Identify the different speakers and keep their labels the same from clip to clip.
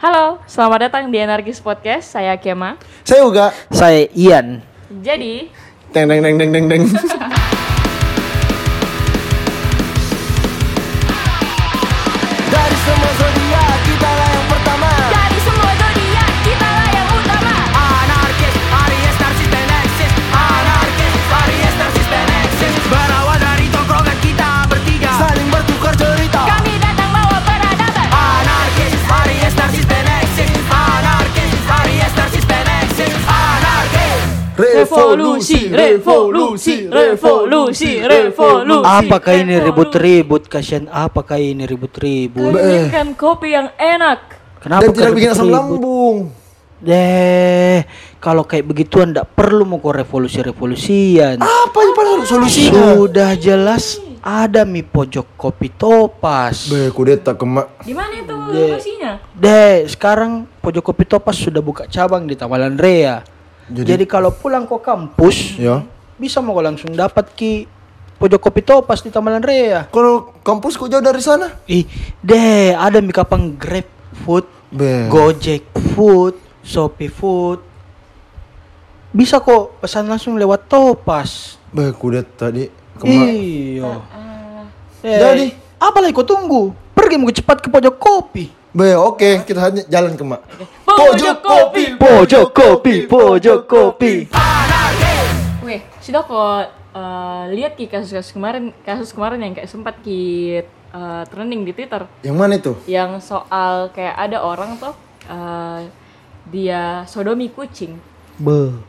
Speaker 1: Halo, selamat datang di Anarkis Podcast. Saya Kema.
Speaker 2: Saya Uga.
Speaker 3: Saya Ian.
Speaker 1: Jadi,
Speaker 2: Deng deng deng deng deng deng.
Speaker 4: Dari semua zodiak kita lah yang pertama.
Speaker 5: Dari semua zodiak kita lah yang utama.
Speaker 4: Anarkis, Aries, Narsis, dan Eksis. Anarkis, Aries, Narsis, dan Eksis. Berawal dari tongkrongan kita bertiga.
Speaker 1: Ya.
Speaker 4: Saling bertukar cerita.
Speaker 5: Kami datang bawa peradaban.
Speaker 4: Anarkis, Aries, Narsis, dan Eksis. Anarkis, Aries, Narsis, dan Eksis. Anarkis.
Speaker 1: Revolusi, revolusi, revolusi,
Speaker 2: Oh,
Speaker 1: revolusi.
Speaker 3: Apakah ini ribut-ribut? Kasihan apakah ini ribut-ribut?
Speaker 1: Berikan kopi yang enak.
Speaker 3: Kenapa
Speaker 2: Dan tidak
Speaker 3: kau
Speaker 2: bikin asam
Speaker 3: ribut-ribut?
Speaker 2: lambung.
Speaker 3: Deh, kalau kayak begituan ndak perlu mau kau revolusi-revolusian.
Speaker 2: Apa yang paling solusinya?
Speaker 3: Sudah jelas ada mie pojok kopi topas.
Speaker 2: Be, kudeta kema.
Speaker 1: Di mana itu
Speaker 3: Deh.
Speaker 1: lokasinya?
Speaker 3: Deh, sekarang pojok kopi topas sudah buka cabang di Taman Rea.
Speaker 2: Jadi-
Speaker 3: Jadi, kalau pulang ke kampus,
Speaker 2: Ya.
Speaker 3: bisa mau kau langsung dapat ki pojok kopi topas di Taman Rea.
Speaker 2: Kalau kampus kok jauh dari sana?
Speaker 3: Ih, deh ada mie kapang Grab Food,
Speaker 2: Be.
Speaker 3: Gojek Food, Shopee Food. Bisa kok pesan langsung lewat Topas.
Speaker 2: Be, kudeta di kema.
Speaker 3: Iya.
Speaker 1: Ah,
Speaker 2: Jadi?
Speaker 3: Jadi, Eh, apa lagi kau tunggu? Pergi mau cepat ke pojok kopi.
Speaker 2: Be, oke, kita hanya jalan kema.
Speaker 1: Pojok kopi.
Speaker 3: Pojok kopi, pojok kopi.
Speaker 1: Weh, sudah kok eh, lihat ki kasus-kasus kemarin, kasus kemarin yang kayak sempat ki eh, trending di Twitter.
Speaker 2: Yang mana itu?
Speaker 1: yang soal kayak ada orang tuh eh, dia sodomi kucing.
Speaker 3: Be.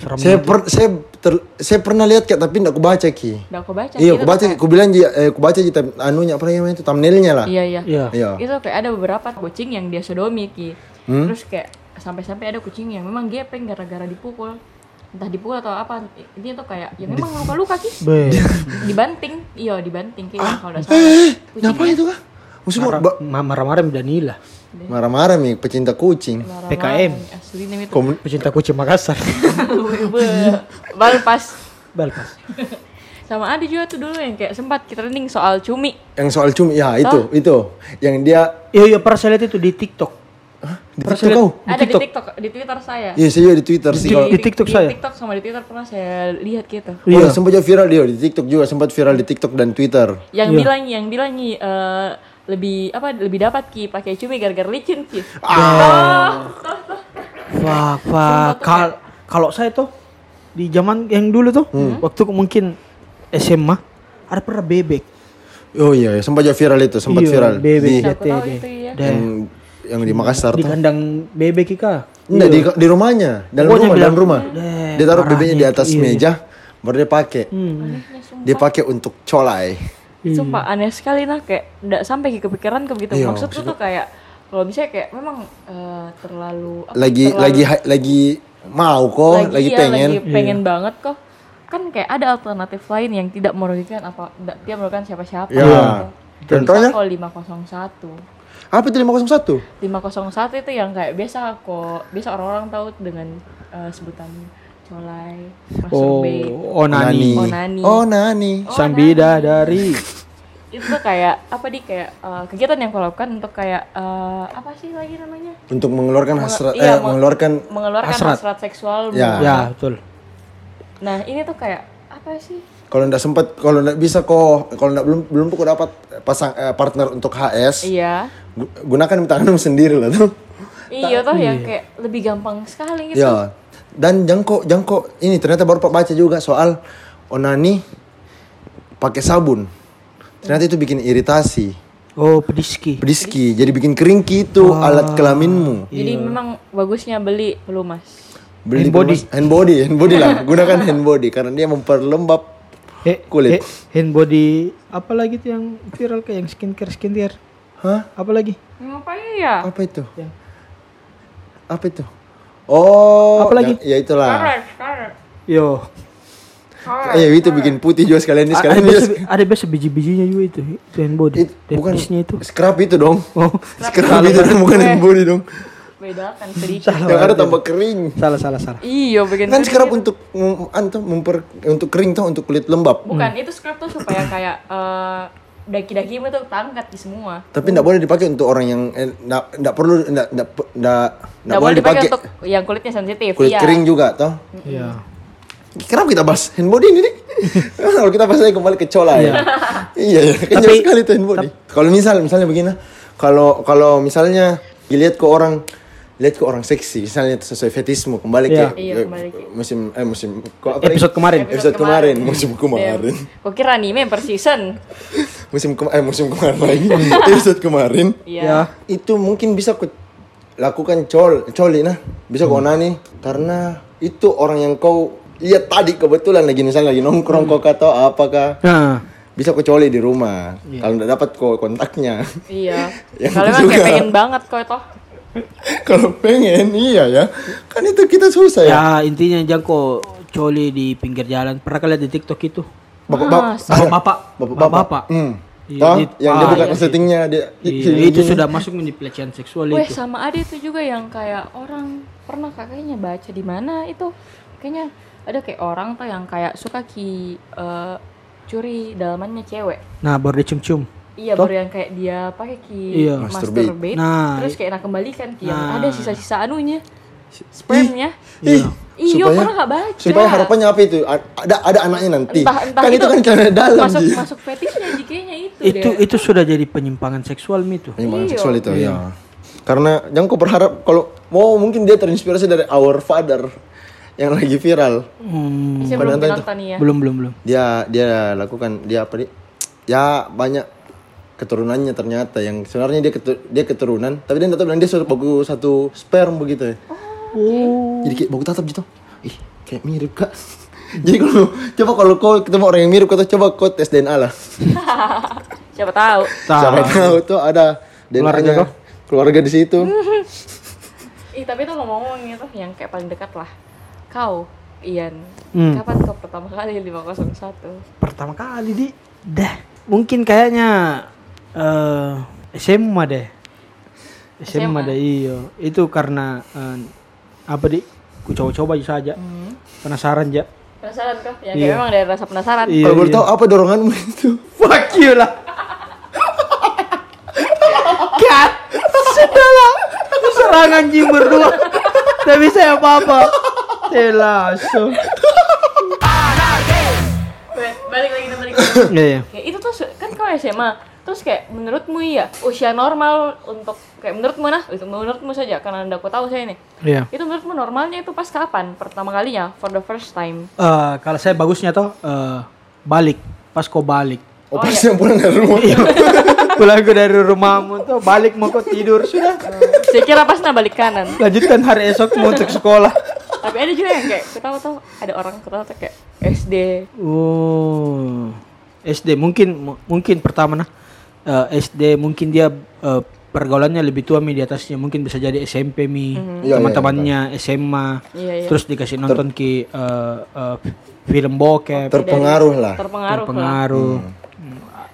Speaker 3: Serem.
Speaker 2: Saya per- saya ter- saya pernah lihat kayak tapi enggak kubaca ki.
Speaker 1: Udah aku baca. Itu
Speaker 2: Iya, aku baca,
Speaker 1: tuh kayak-
Speaker 2: aku bilang ji- eh, aku baca ji tam- anunya apa namanya itu thumbnailnya lah.
Speaker 1: Iya iya.
Speaker 3: Iya.
Speaker 2: Iya.
Speaker 1: Itu kayak ada beberapa kucing yang dia sodomi ki. Terus kayak sampai-sampai ada kucing yang memang gepeng gara-gara dipukul. Entah dipukul atau apa. Ini tuh kayak ya memang luka-luka ki.
Speaker 3: Be.
Speaker 1: Dibanting. Iya, dibanting kayaknya kalau enggak salah.
Speaker 2: Kenapa Eh, itu kah? Musuh
Speaker 3: Marah-
Speaker 2: ba-
Speaker 3: ma- Marah-marah Danila.
Speaker 2: marah-marah nih pecinta kucing.
Speaker 1: Marah-marah,
Speaker 3: PKM.
Speaker 1: Asli nih itu.
Speaker 2: Komun-
Speaker 3: Pecinta kucing Makassar.
Speaker 1: Be- Balpas.
Speaker 3: Balpas.
Speaker 1: Sama ada juga tuh dulu yang kayak sempat kita trending soal cumi.
Speaker 2: yang soal cumi ya itu itu yang dia
Speaker 3: Iya, iya, pernah saya lihat itu di TikTok.
Speaker 2: di TikTok kau
Speaker 1: Ada di TikTok, di Twitter saya.
Speaker 2: Iya, saya juga di Twitter sih. Kalau
Speaker 3: Di TikTok saya?
Speaker 1: Di TikTok sama di Twitter pernah saya lihat gitu.
Speaker 2: Oh, sempat juga viral dia di TikTok juga, sempat viral di TikTok dan Twitter.
Speaker 1: Yang bilang yang bilang "Nyi, eh, lebih apa lebih dapat ki pakai cumi gara-gara licin ki.
Speaker 3: Wah, wah. Kal- kalau saya tuh di zaman yang dulu tuh,
Speaker 2: Hmm.
Speaker 3: waktu mungkin SMA, ada pernah bebek.
Speaker 2: Oh iya, iya, sempat juga viral itu, sempat
Speaker 3: Iya,
Speaker 2: viral.
Speaker 3: Bebek
Speaker 2: Di,
Speaker 1: Aku
Speaker 3: JT
Speaker 1: tahu
Speaker 3: deh.
Speaker 1: itu, iya.
Speaker 3: Dan
Speaker 2: yang, yang di Makassar
Speaker 3: di
Speaker 2: tuh.
Speaker 3: kandang bebek ika.
Speaker 2: Enggak, di, di rumahnya, dalam
Speaker 3: Iya. Pokoknya
Speaker 2: rumah, dalam
Speaker 3: bilang,
Speaker 2: rumah.
Speaker 3: "Deh,
Speaker 2: Dia taruh
Speaker 3: parahnya
Speaker 2: bebeknya di atas
Speaker 3: itu, iya. Hmm.
Speaker 2: meja, baru dia pakai. Dia pakai untuk colai.
Speaker 1: Sumpah aneh sekali nah kayak enggak sampai ki kepikiran ke begitu.
Speaker 2: Iya,
Speaker 1: Maksudku tuh kayak kalau misalnya kayak memang eh, terlalu apa,
Speaker 2: Lagi
Speaker 1: terlalu-
Speaker 2: lagi ha- lagi mau kok, lagi,
Speaker 1: iya,
Speaker 2: pengen.
Speaker 1: lagi pengen banget kok. Kan kayak ada alternatif lain yang tidak merugikan apa tidak tidak merugikan siapa-siapa.
Speaker 2: Ya. Contohnya?
Speaker 1: Contohnya kalau 501.
Speaker 2: Apa itu 501?
Speaker 1: 501 itu yang kayak biasa kok biasa orang-orang tahu dengan eh, sebutan colai,
Speaker 3: Oh,
Speaker 1: masturbe,
Speaker 3: onani.
Speaker 1: Onani.
Speaker 2: Oh, Nani.
Speaker 3: Sambida dari
Speaker 1: itu tuh kayak apa di kayak eh, kegiatan yang kau lakukan untuk kayak eh, apa sih lagi namanya
Speaker 2: Untuk mengeluarkan hasrat,
Speaker 1: iya,
Speaker 2: eh,
Speaker 1: mau-
Speaker 2: mengeluarkan
Speaker 1: mengeluarkan hasrat,
Speaker 3: Hasrat.
Speaker 1: seksual
Speaker 2: Ya.
Speaker 3: ya, betul.
Speaker 1: nah ini tuh kayak apa sih
Speaker 2: kalau ndak sempat kalau ndak bisa kok kalau ndak belum belum kok dapat pasang eh, partner untuk HS
Speaker 1: iya
Speaker 2: gu- gunakan tanganmu sendiri lah tuh
Speaker 1: iya tuh yang kayak lebih gampang sekali gitu
Speaker 2: ya dan jangko jangko ini ternyata baru Pak baca juga soal onani pakai sabun ternyata itu bikin iritasi
Speaker 3: Oh, pediski.
Speaker 2: pediski jadi bikin kering itu
Speaker 3: Ah.
Speaker 2: alat kelaminmu
Speaker 1: jadi memang bagusnya beli pelumas
Speaker 2: beli
Speaker 3: Hand body.
Speaker 2: hand body hand body lah gunakan hand body karena dia memperlembab
Speaker 3: Eh,
Speaker 2: Kulit.
Speaker 3: eh, hand body apa lagi tuh yang viral kayak yang skincare skincare.
Speaker 2: hah
Speaker 3: Apa lagi?
Speaker 1: ngapain ya
Speaker 2: apa itu apa itu oh
Speaker 3: Apa lagi?
Speaker 2: ya, ya itulah
Speaker 3: Yo.
Speaker 2: Eh, itu bikin putih juga sekalian ini
Speaker 3: A-
Speaker 2: sekalian
Speaker 3: ada
Speaker 2: dia
Speaker 3: biasa, ada biasa biji-bijinya juga itu, itu hand body.
Speaker 2: it- bukan
Speaker 3: Depisnya itu.
Speaker 2: scrub itu dong.
Speaker 3: Oh,
Speaker 2: Scrub itu dong, bukan hand body dong.
Speaker 1: bedakan sedikit
Speaker 2: Yang ada tambah kering.
Speaker 3: salah salah salah.
Speaker 1: iya bikin
Speaker 2: Kan
Speaker 1: sedikit.
Speaker 2: scrub untuk mm, anu tuh, memper untuk kering tuh untuk kulit lembab.
Speaker 1: Bukan, itu script tuh supaya kayak eh, daki-daki itu tangkat di semua.
Speaker 2: Tapi enggak boleh dipakai untuk orang yang eh, enggak enggak perlu enggak enggak enggak
Speaker 1: Nggak boleh dipakai untuk yang kulitnya sensitif.
Speaker 2: kulit
Speaker 1: iya.
Speaker 2: kering juga toh.
Speaker 3: Iya.
Speaker 2: Kenapa kita bahas hand body ini? Dik? Kalau kita bahas lagi kembali ke cola ya. iya, iya, kan jauh
Speaker 3: Tapi-
Speaker 2: sekali tuh hand body. Kalau misal misalnya begini, kalau kalau misalnya dilihat ke orang lihat ke orang seksi misalnya sesuai fetismu kembali
Speaker 3: Iya.
Speaker 2: ke,
Speaker 1: Iya,
Speaker 2: ke
Speaker 1: kembali ke-
Speaker 2: musim eh musim kok apa
Speaker 3: Episode
Speaker 2: ini?
Speaker 3: kemarin.
Speaker 2: episode, kemarin, musim
Speaker 1: Iya.
Speaker 2: kemarin
Speaker 1: Damn. Kok kira anime per season?
Speaker 2: musim kema- eh musim kemarin lagi episode kemarin
Speaker 3: Ya.
Speaker 1: Iya.
Speaker 2: itu mungkin bisa ku lakukan col coli nah bisa kau
Speaker 3: Hmm.
Speaker 2: onani karena itu orang yang kau lihat tadi kebetulan lagi misalnya lagi nongkrong
Speaker 3: Hmm.
Speaker 2: kau kata apakah
Speaker 3: Nah,
Speaker 2: bisa kau coli di rumah
Speaker 3: Iya.
Speaker 2: kalau nggak dapat kau kontaknya
Speaker 1: Iya.
Speaker 2: Yang
Speaker 1: Kalau emang kayak
Speaker 2: juga.
Speaker 1: pengen banget kok itu.
Speaker 2: kalau pengen iya ya kan itu kita susah ya
Speaker 3: ya intinya jangko coli di pinggir jalan. Pernah kalian di TikTok itu?
Speaker 2: bapak bapak
Speaker 3: Bapak-bapak.
Speaker 2: bapak bapak Hmm.
Speaker 3: Ah, Iya,
Speaker 2: Toh,
Speaker 3: di-
Speaker 2: yang dia
Speaker 3: ah,
Speaker 2: bukan
Speaker 3: iya sih.
Speaker 2: settingnya dia
Speaker 3: Iya, itu sudah masuk menjadi pelecehan seksual
Speaker 1: Weh
Speaker 3: itu.
Speaker 1: sama ada itu juga yang kayak orang pernah kakaknya baca di mana itu kayaknya ada kayak orang tuh yang kayak suka ki eh, curi dalamannya cewek.
Speaker 3: Nah, baru dicium-cium.
Speaker 1: Iya
Speaker 3: Toh.
Speaker 1: baru yang kayak dia pakai ki
Speaker 3: Iya.
Speaker 2: Masturbate.
Speaker 1: masturbate,
Speaker 3: Nah,
Speaker 1: terus
Speaker 3: i-
Speaker 1: kayak nak kembalikan ki yang
Speaker 3: Nah.
Speaker 1: ada sisa-sisa anunya spermnya.
Speaker 2: Ih,
Speaker 1: Iya,
Speaker 2: supaya-
Speaker 1: pernah nggak baca?
Speaker 2: Supaya harapannya apa itu? A- Ada ada anaknya nanti.
Speaker 1: Entah entah
Speaker 2: kan itu, kan celana dalam
Speaker 1: masuk
Speaker 2: Ji.
Speaker 1: masuk fetishnya jikanya itu,
Speaker 3: Itu
Speaker 1: deh.
Speaker 3: itu sudah jadi penyimpangan seksual itu.
Speaker 2: Penyimpangan
Speaker 1: Iya.
Speaker 2: seksual itu ya. Karena jangan kau berharap kalau mau mungkin dia terinspirasi dari Our Father yang lagi viral.
Speaker 3: Hmm,
Speaker 1: Saya
Speaker 2: Padahal
Speaker 1: belum
Speaker 2: itu-
Speaker 1: nonton ya.
Speaker 3: belum belum belum.
Speaker 2: Dia dia lakukan dia apa Dik? Ya banyak keturunannya ternyata yang sebenarnya dia ketu- dia keturunan tapi dia nggak tahu bilang dia sudah baku satu sperm begitu ya.
Speaker 1: Oh,
Speaker 2: Jadi kayak baku tatap gitu. Ih, kayak mirip kak. Jadi kalau coba kalau kau ketemu orang yang mirip kau tuh, coba kau tes DNA lah.
Speaker 1: Siapa tahu.
Speaker 2: Siapa tahu tuh ada
Speaker 3: Keluarga
Speaker 2: DNA-nya
Speaker 3: kau?
Speaker 2: keluarga di situ.
Speaker 1: Ih, tapi itu ngomong-ngomong itu yang kayak paling dekat lah. Kau, Ian,
Speaker 3: Hmm.
Speaker 1: kapan kau pertama kali 501?
Speaker 3: Pertama kali di dah. Mungkin kayaknya eh SMA deh.
Speaker 1: SMA.
Speaker 3: SMA, deh iya. Itu karena eh, apa di? Ku coba-coba saja.
Speaker 1: Hmm.
Speaker 3: Penasaran aja.
Speaker 1: Penasaran kau? Ya, kayak
Speaker 3: Iya.
Speaker 1: memang dari rasa penasaran.
Speaker 3: Iya.
Speaker 2: Kalau boleh tahu apa doronganmu itu?
Speaker 3: Fuck you lah. Kat, sudahlah. Serang anjing berdua. Tidak bisa apa-apa. Telaso.
Speaker 1: Weh, balik lagi balik lagi.
Speaker 3: Iya, iya.
Speaker 1: Kayak itu tuh su- kan kau SMA. Terus kayak menurutmu iya usia normal untuk kayak menurutmu nah, itu menurutmu saja karena anda kau tahu saya ini.
Speaker 3: Iya.
Speaker 1: Itu menurutmu normalnya itu pas kapan pertama kalinya for the first time?
Speaker 3: Eh, kalau saya bagusnya toh eh, balik pas kau balik
Speaker 1: Oh, iya.
Speaker 2: Operasi yang pulang dari rumah.
Speaker 3: Iya. pulang ke dari rumahmu tuh balik mau kau tidur sudah
Speaker 1: Saya kira pas nah balik kanan.
Speaker 3: lanjutkan hari esok mau untuk sekolah
Speaker 1: Tapi ada juga yang kayak ketawa tuh ada orang ketawa tuh kayak SD
Speaker 3: oh SD mungkin mu- mungkin pertama nah eh, SD mungkin dia eh, pergaulannya lebih tua mi di atasnya mungkin bisa jadi SMP mi
Speaker 2: Iya, iya,
Speaker 3: teman-temannya SMA
Speaker 1: Mhm. Iya, iya.
Speaker 3: terus dikasih nonton ki eh, eh, film bokep
Speaker 2: Terpengaruh lah.
Speaker 1: terpengaruh, lah.
Speaker 3: terpengaruh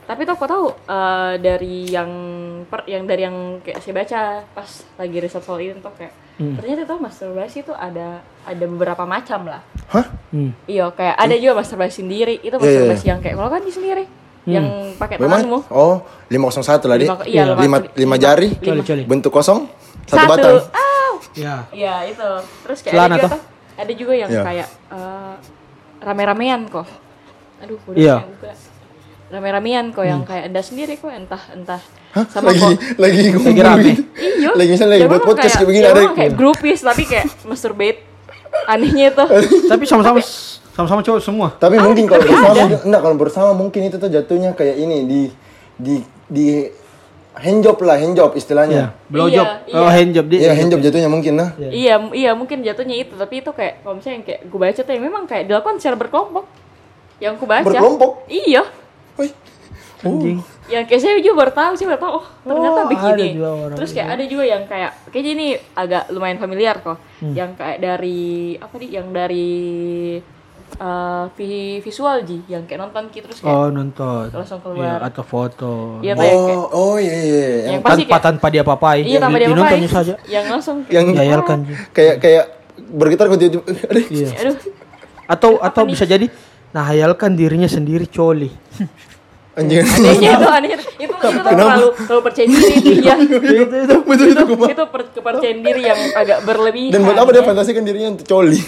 Speaker 1: Tapi tuh aku tahu eh, dari yang per, yang dari yang kayak saya baca pas lagi riset soal itu tuh kayak ternyata tuh masturbasi itu ada ada beberapa macam lah.
Speaker 2: Hah?
Speaker 3: Hmm.
Speaker 1: Iya kayak ada juga masturbasi sendiri itu
Speaker 2: iya, Hmm.
Speaker 1: masturbasi yang kayak kalau kan di sendiri yang pakai tanganmu.
Speaker 2: Memang? Oh, 501 lah, Dik.
Speaker 1: Lima- iya,
Speaker 2: lima,
Speaker 1: lima-
Speaker 2: lima jari.
Speaker 1: Lima.
Speaker 3: Coli, coli.
Speaker 2: Bentuk kosong. Satu, batang.
Speaker 1: Au!
Speaker 3: ya
Speaker 1: Iya itu. Terus kayak
Speaker 3: Celana
Speaker 1: ada juga,
Speaker 3: toh?
Speaker 1: tuh, ada juga yang
Speaker 2: Iya.
Speaker 1: kayak eh, rame-ramean kok. Aduh, udah
Speaker 3: Iya.
Speaker 1: kayak buka. Rame-ramean kok yang kayak anda sendiri kok entah entah
Speaker 2: Hmm. Hah?
Speaker 1: sama
Speaker 2: lagi,
Speaker 1: kok.
Speaker 2: lagi ngumpul
Speaker 3: rame.
Speaker 2: gitu.
Speaker 1: Iya.
Speaker 2: Lagi misalnya lagi
Speaker 1: Ya,
Speaker 2: buat
Speaker 1: memang
Speaker 2: podcast
Speaker 1: kayak,
Speaker 2: kayak begini
Speaker 1: ya,
Speaker 2: ada.
Speaker 1: memang kayak groupies tapi kayak masturbate. Anehnya itu.
Speaker 3: tapi sama-sama sama-sama cowok semua
Speaker 2: Tapi
Speaker 1: Ah.
Speaker 2: mungkin kalau bersama, enggak kalau bersama mungkin itu tuh jatuhnya kayak ini di di di handjob lah, handjob istilahnya.
Speaker 3: blowjob
Speaker 1: Iya,
Speaker 3: oh
Speaker 1: iya.
Speaker 3: handjob dia ya.
Speaker 2: Iya, handjob jatuhnya mungkin nah.
Speaker 1: iya, m- iya mungkin jatuhnya itu, tapi itu kayak kalau misalnya yang kayak gue baca tuh ya memang kayak dilakukan secara berkelompok. Yang gue baca.
Speaker 2: Berkelompok?
Speaker 1: Iya.
Speaker 2: Wih.
Speaker 3: Anjing.
Speaker 1: yang kayak saya juga baru tahu sih baru tahu oh ternyata
Speaker 3: Oh, ada
Speaker 1: begini
Speaker 3: juga orang
Speaker 1: terus kayak ada juga yang kayak kayaknya ini agak lumayan familiar kok yang kayak dari apa nih yang dari eh, vi- visual ji yang kayak nonton ki terus kayak
Speaker 3: Oh nonton.
Speaker 1: Langsung keluar.
Speaker 3: Iya, atau foto.
Speaker 1: iya tuh yang kayak
Speaker 2: Oh, oh iya iya. iya. Yang,
Speaker 1: yang pasti
Speaker 3: tanpa
Speaker 1: kayak
Speaker 3: tanpa dia papai.
Speaker 1: iya tanpa dia apa
Speaker 3: Dinontonnya saja.
Speaker 1: yang langsung kayak,
Speaker 2: yang
Speaker 3: Yayal kan. Ji.
Speaker 2: kayak kayak bergitar kok tiba-tiba. Aduh.
Speaker 3: Iya.
Speaker 1: aduh
Speaker 3: Atau atau bisa jadi nah hayalkan dirinya sendiri coli.
Speaker 2: Anjing.
Speaker 1: anehnya itu aneh itu itu tuh terlalu terlalu percaya diri ya
Speaker 2: itu itu betul itu gua.
Speaker 1: itu per, kepercayaan diri yang agak
Speaker 3: Iya.
Speaker 1: berlebihan
Speaker 2: Dan buat apa dia
Speaker 1: ya.
Speaker 2: fantasikan dirinya untuk coli?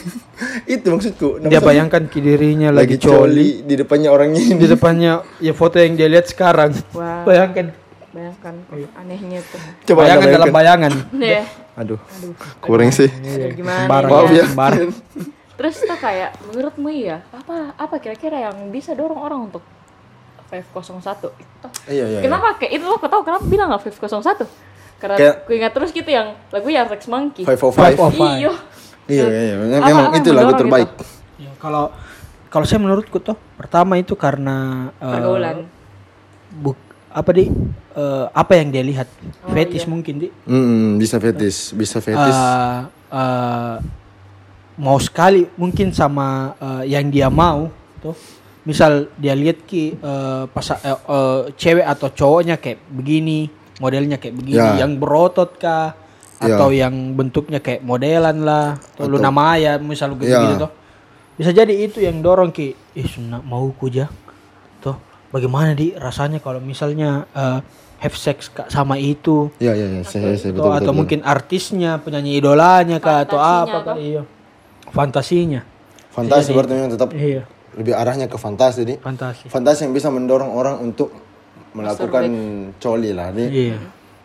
Speaker 2: itu maksudku.
Speaker 3: Dia
Speaker 2: Maksudnya
Speaker 3: bayangkan dirinya
Speaker 2: lagi
Speaker 3: lagi coli
Speaker 2: coli di depannya orangnya
Speaker 3: di
Speaker 2: ini.
Speaker 3: depannya ya foto yang dia lihat sekarang.
Speaker 1: Wah.
Speaker 3: Bayangkan.
Speaker 1: bayangkan kan
Speaker 2: Iya.
Speaker 1: anehnya tuh
Speaker 2: Coba Anda
Speaker 3: bayangan dalam
Speaker 2: bayangkan.
Speaker 3: bayangan.
Speaker 1: ya
Speaker 2: Aduh. Kurang sih.
Speaker 1: aduh, gimana ya?
Speaker 3: Sembarang.
Speaker 2: Maaf Iya, ya.
Speaker 3: Sembarang.
Speaker 1: terus tuh kayak menurutmu ya apa apa kira-kira yang bisa dorong orang untuk 501 itu
Speaker 2: Iya iya. iya.
Speaker 1: Kenapa kayak itu lo tau kenapa bilang gak 501? Karena
Speaker 2: Kayak-
Speaker 1: gue ingat terus gitu yang lagu ya Rex Monkey.
Speaker 2: Five for
Speaker 3: Five oh.
Speaker 2: five.
Speaker 3: of five.
Speaker 1: Iya.
Speaker 2: Iya iya. iya.
Speaker 1: Apa-
Speaker 2: Memang
Speaker 1: apa
Speaker 2: itu
Speaker 1: yang
Speaker 2: lagu
Speaker 1: mendorong
Speaker 2: terbaik.
Speaker 1: gitu?
Speaker 3: Ya, kalau kalau saya menurutku tuh pertama itu karena eh,
Speaker 1: Pergaulan.
Speaker 3: buk, apa di eh, apa yang dia lihat fetish mungkin di
Speaker 2: Hmm, bisa fetis, bisa fetis.
Speaker 3: Eh, eh, mau sekali mungkin sama eh, yang dia mau tuh misal dia lihat ki eh, pasa- eh, eh, cewek atau cowoknya kayak begini modelnya kayak begini
Speaker 2: Ya.
Speaker 3: yang berotot kah
Speaker 2: Ya.
Speaker 3: atau yang bentuknya kayak modelan lah atau Luna Maya misal gitu
Speaker 2: Ya.
Speaker 3: gitu tuh bisa jadi itu yang dorong ki ih sunnah mau ku ja tuh bagaimana di rasanya kalau misalnya eh, have sex ka- sama itu
Speaker 2: Iya iya iya, saya saya betul
Speaker 3: atau,
Speaker 2: betul.
Speaker 3: Oh, atau
Speaker 2: betul.
Speaker 3: mungkin artisnya penyanyi idolanya kah atau
Speaker 1: Fantasinya
Speaker 3: apa kah
Speaker 1: toh.
Speaker 3: iya fantasinya
Speaker 2: fantasi berarti memang tetap
Speaker 3: iya
Speaker 2: lebih arahnya ke fantasi jadi
Speaker 3: fantasi
Speaker 2: fantasi yang bisa mendorong orang untuk melakukan coli lah ini.
Speaker 3: iya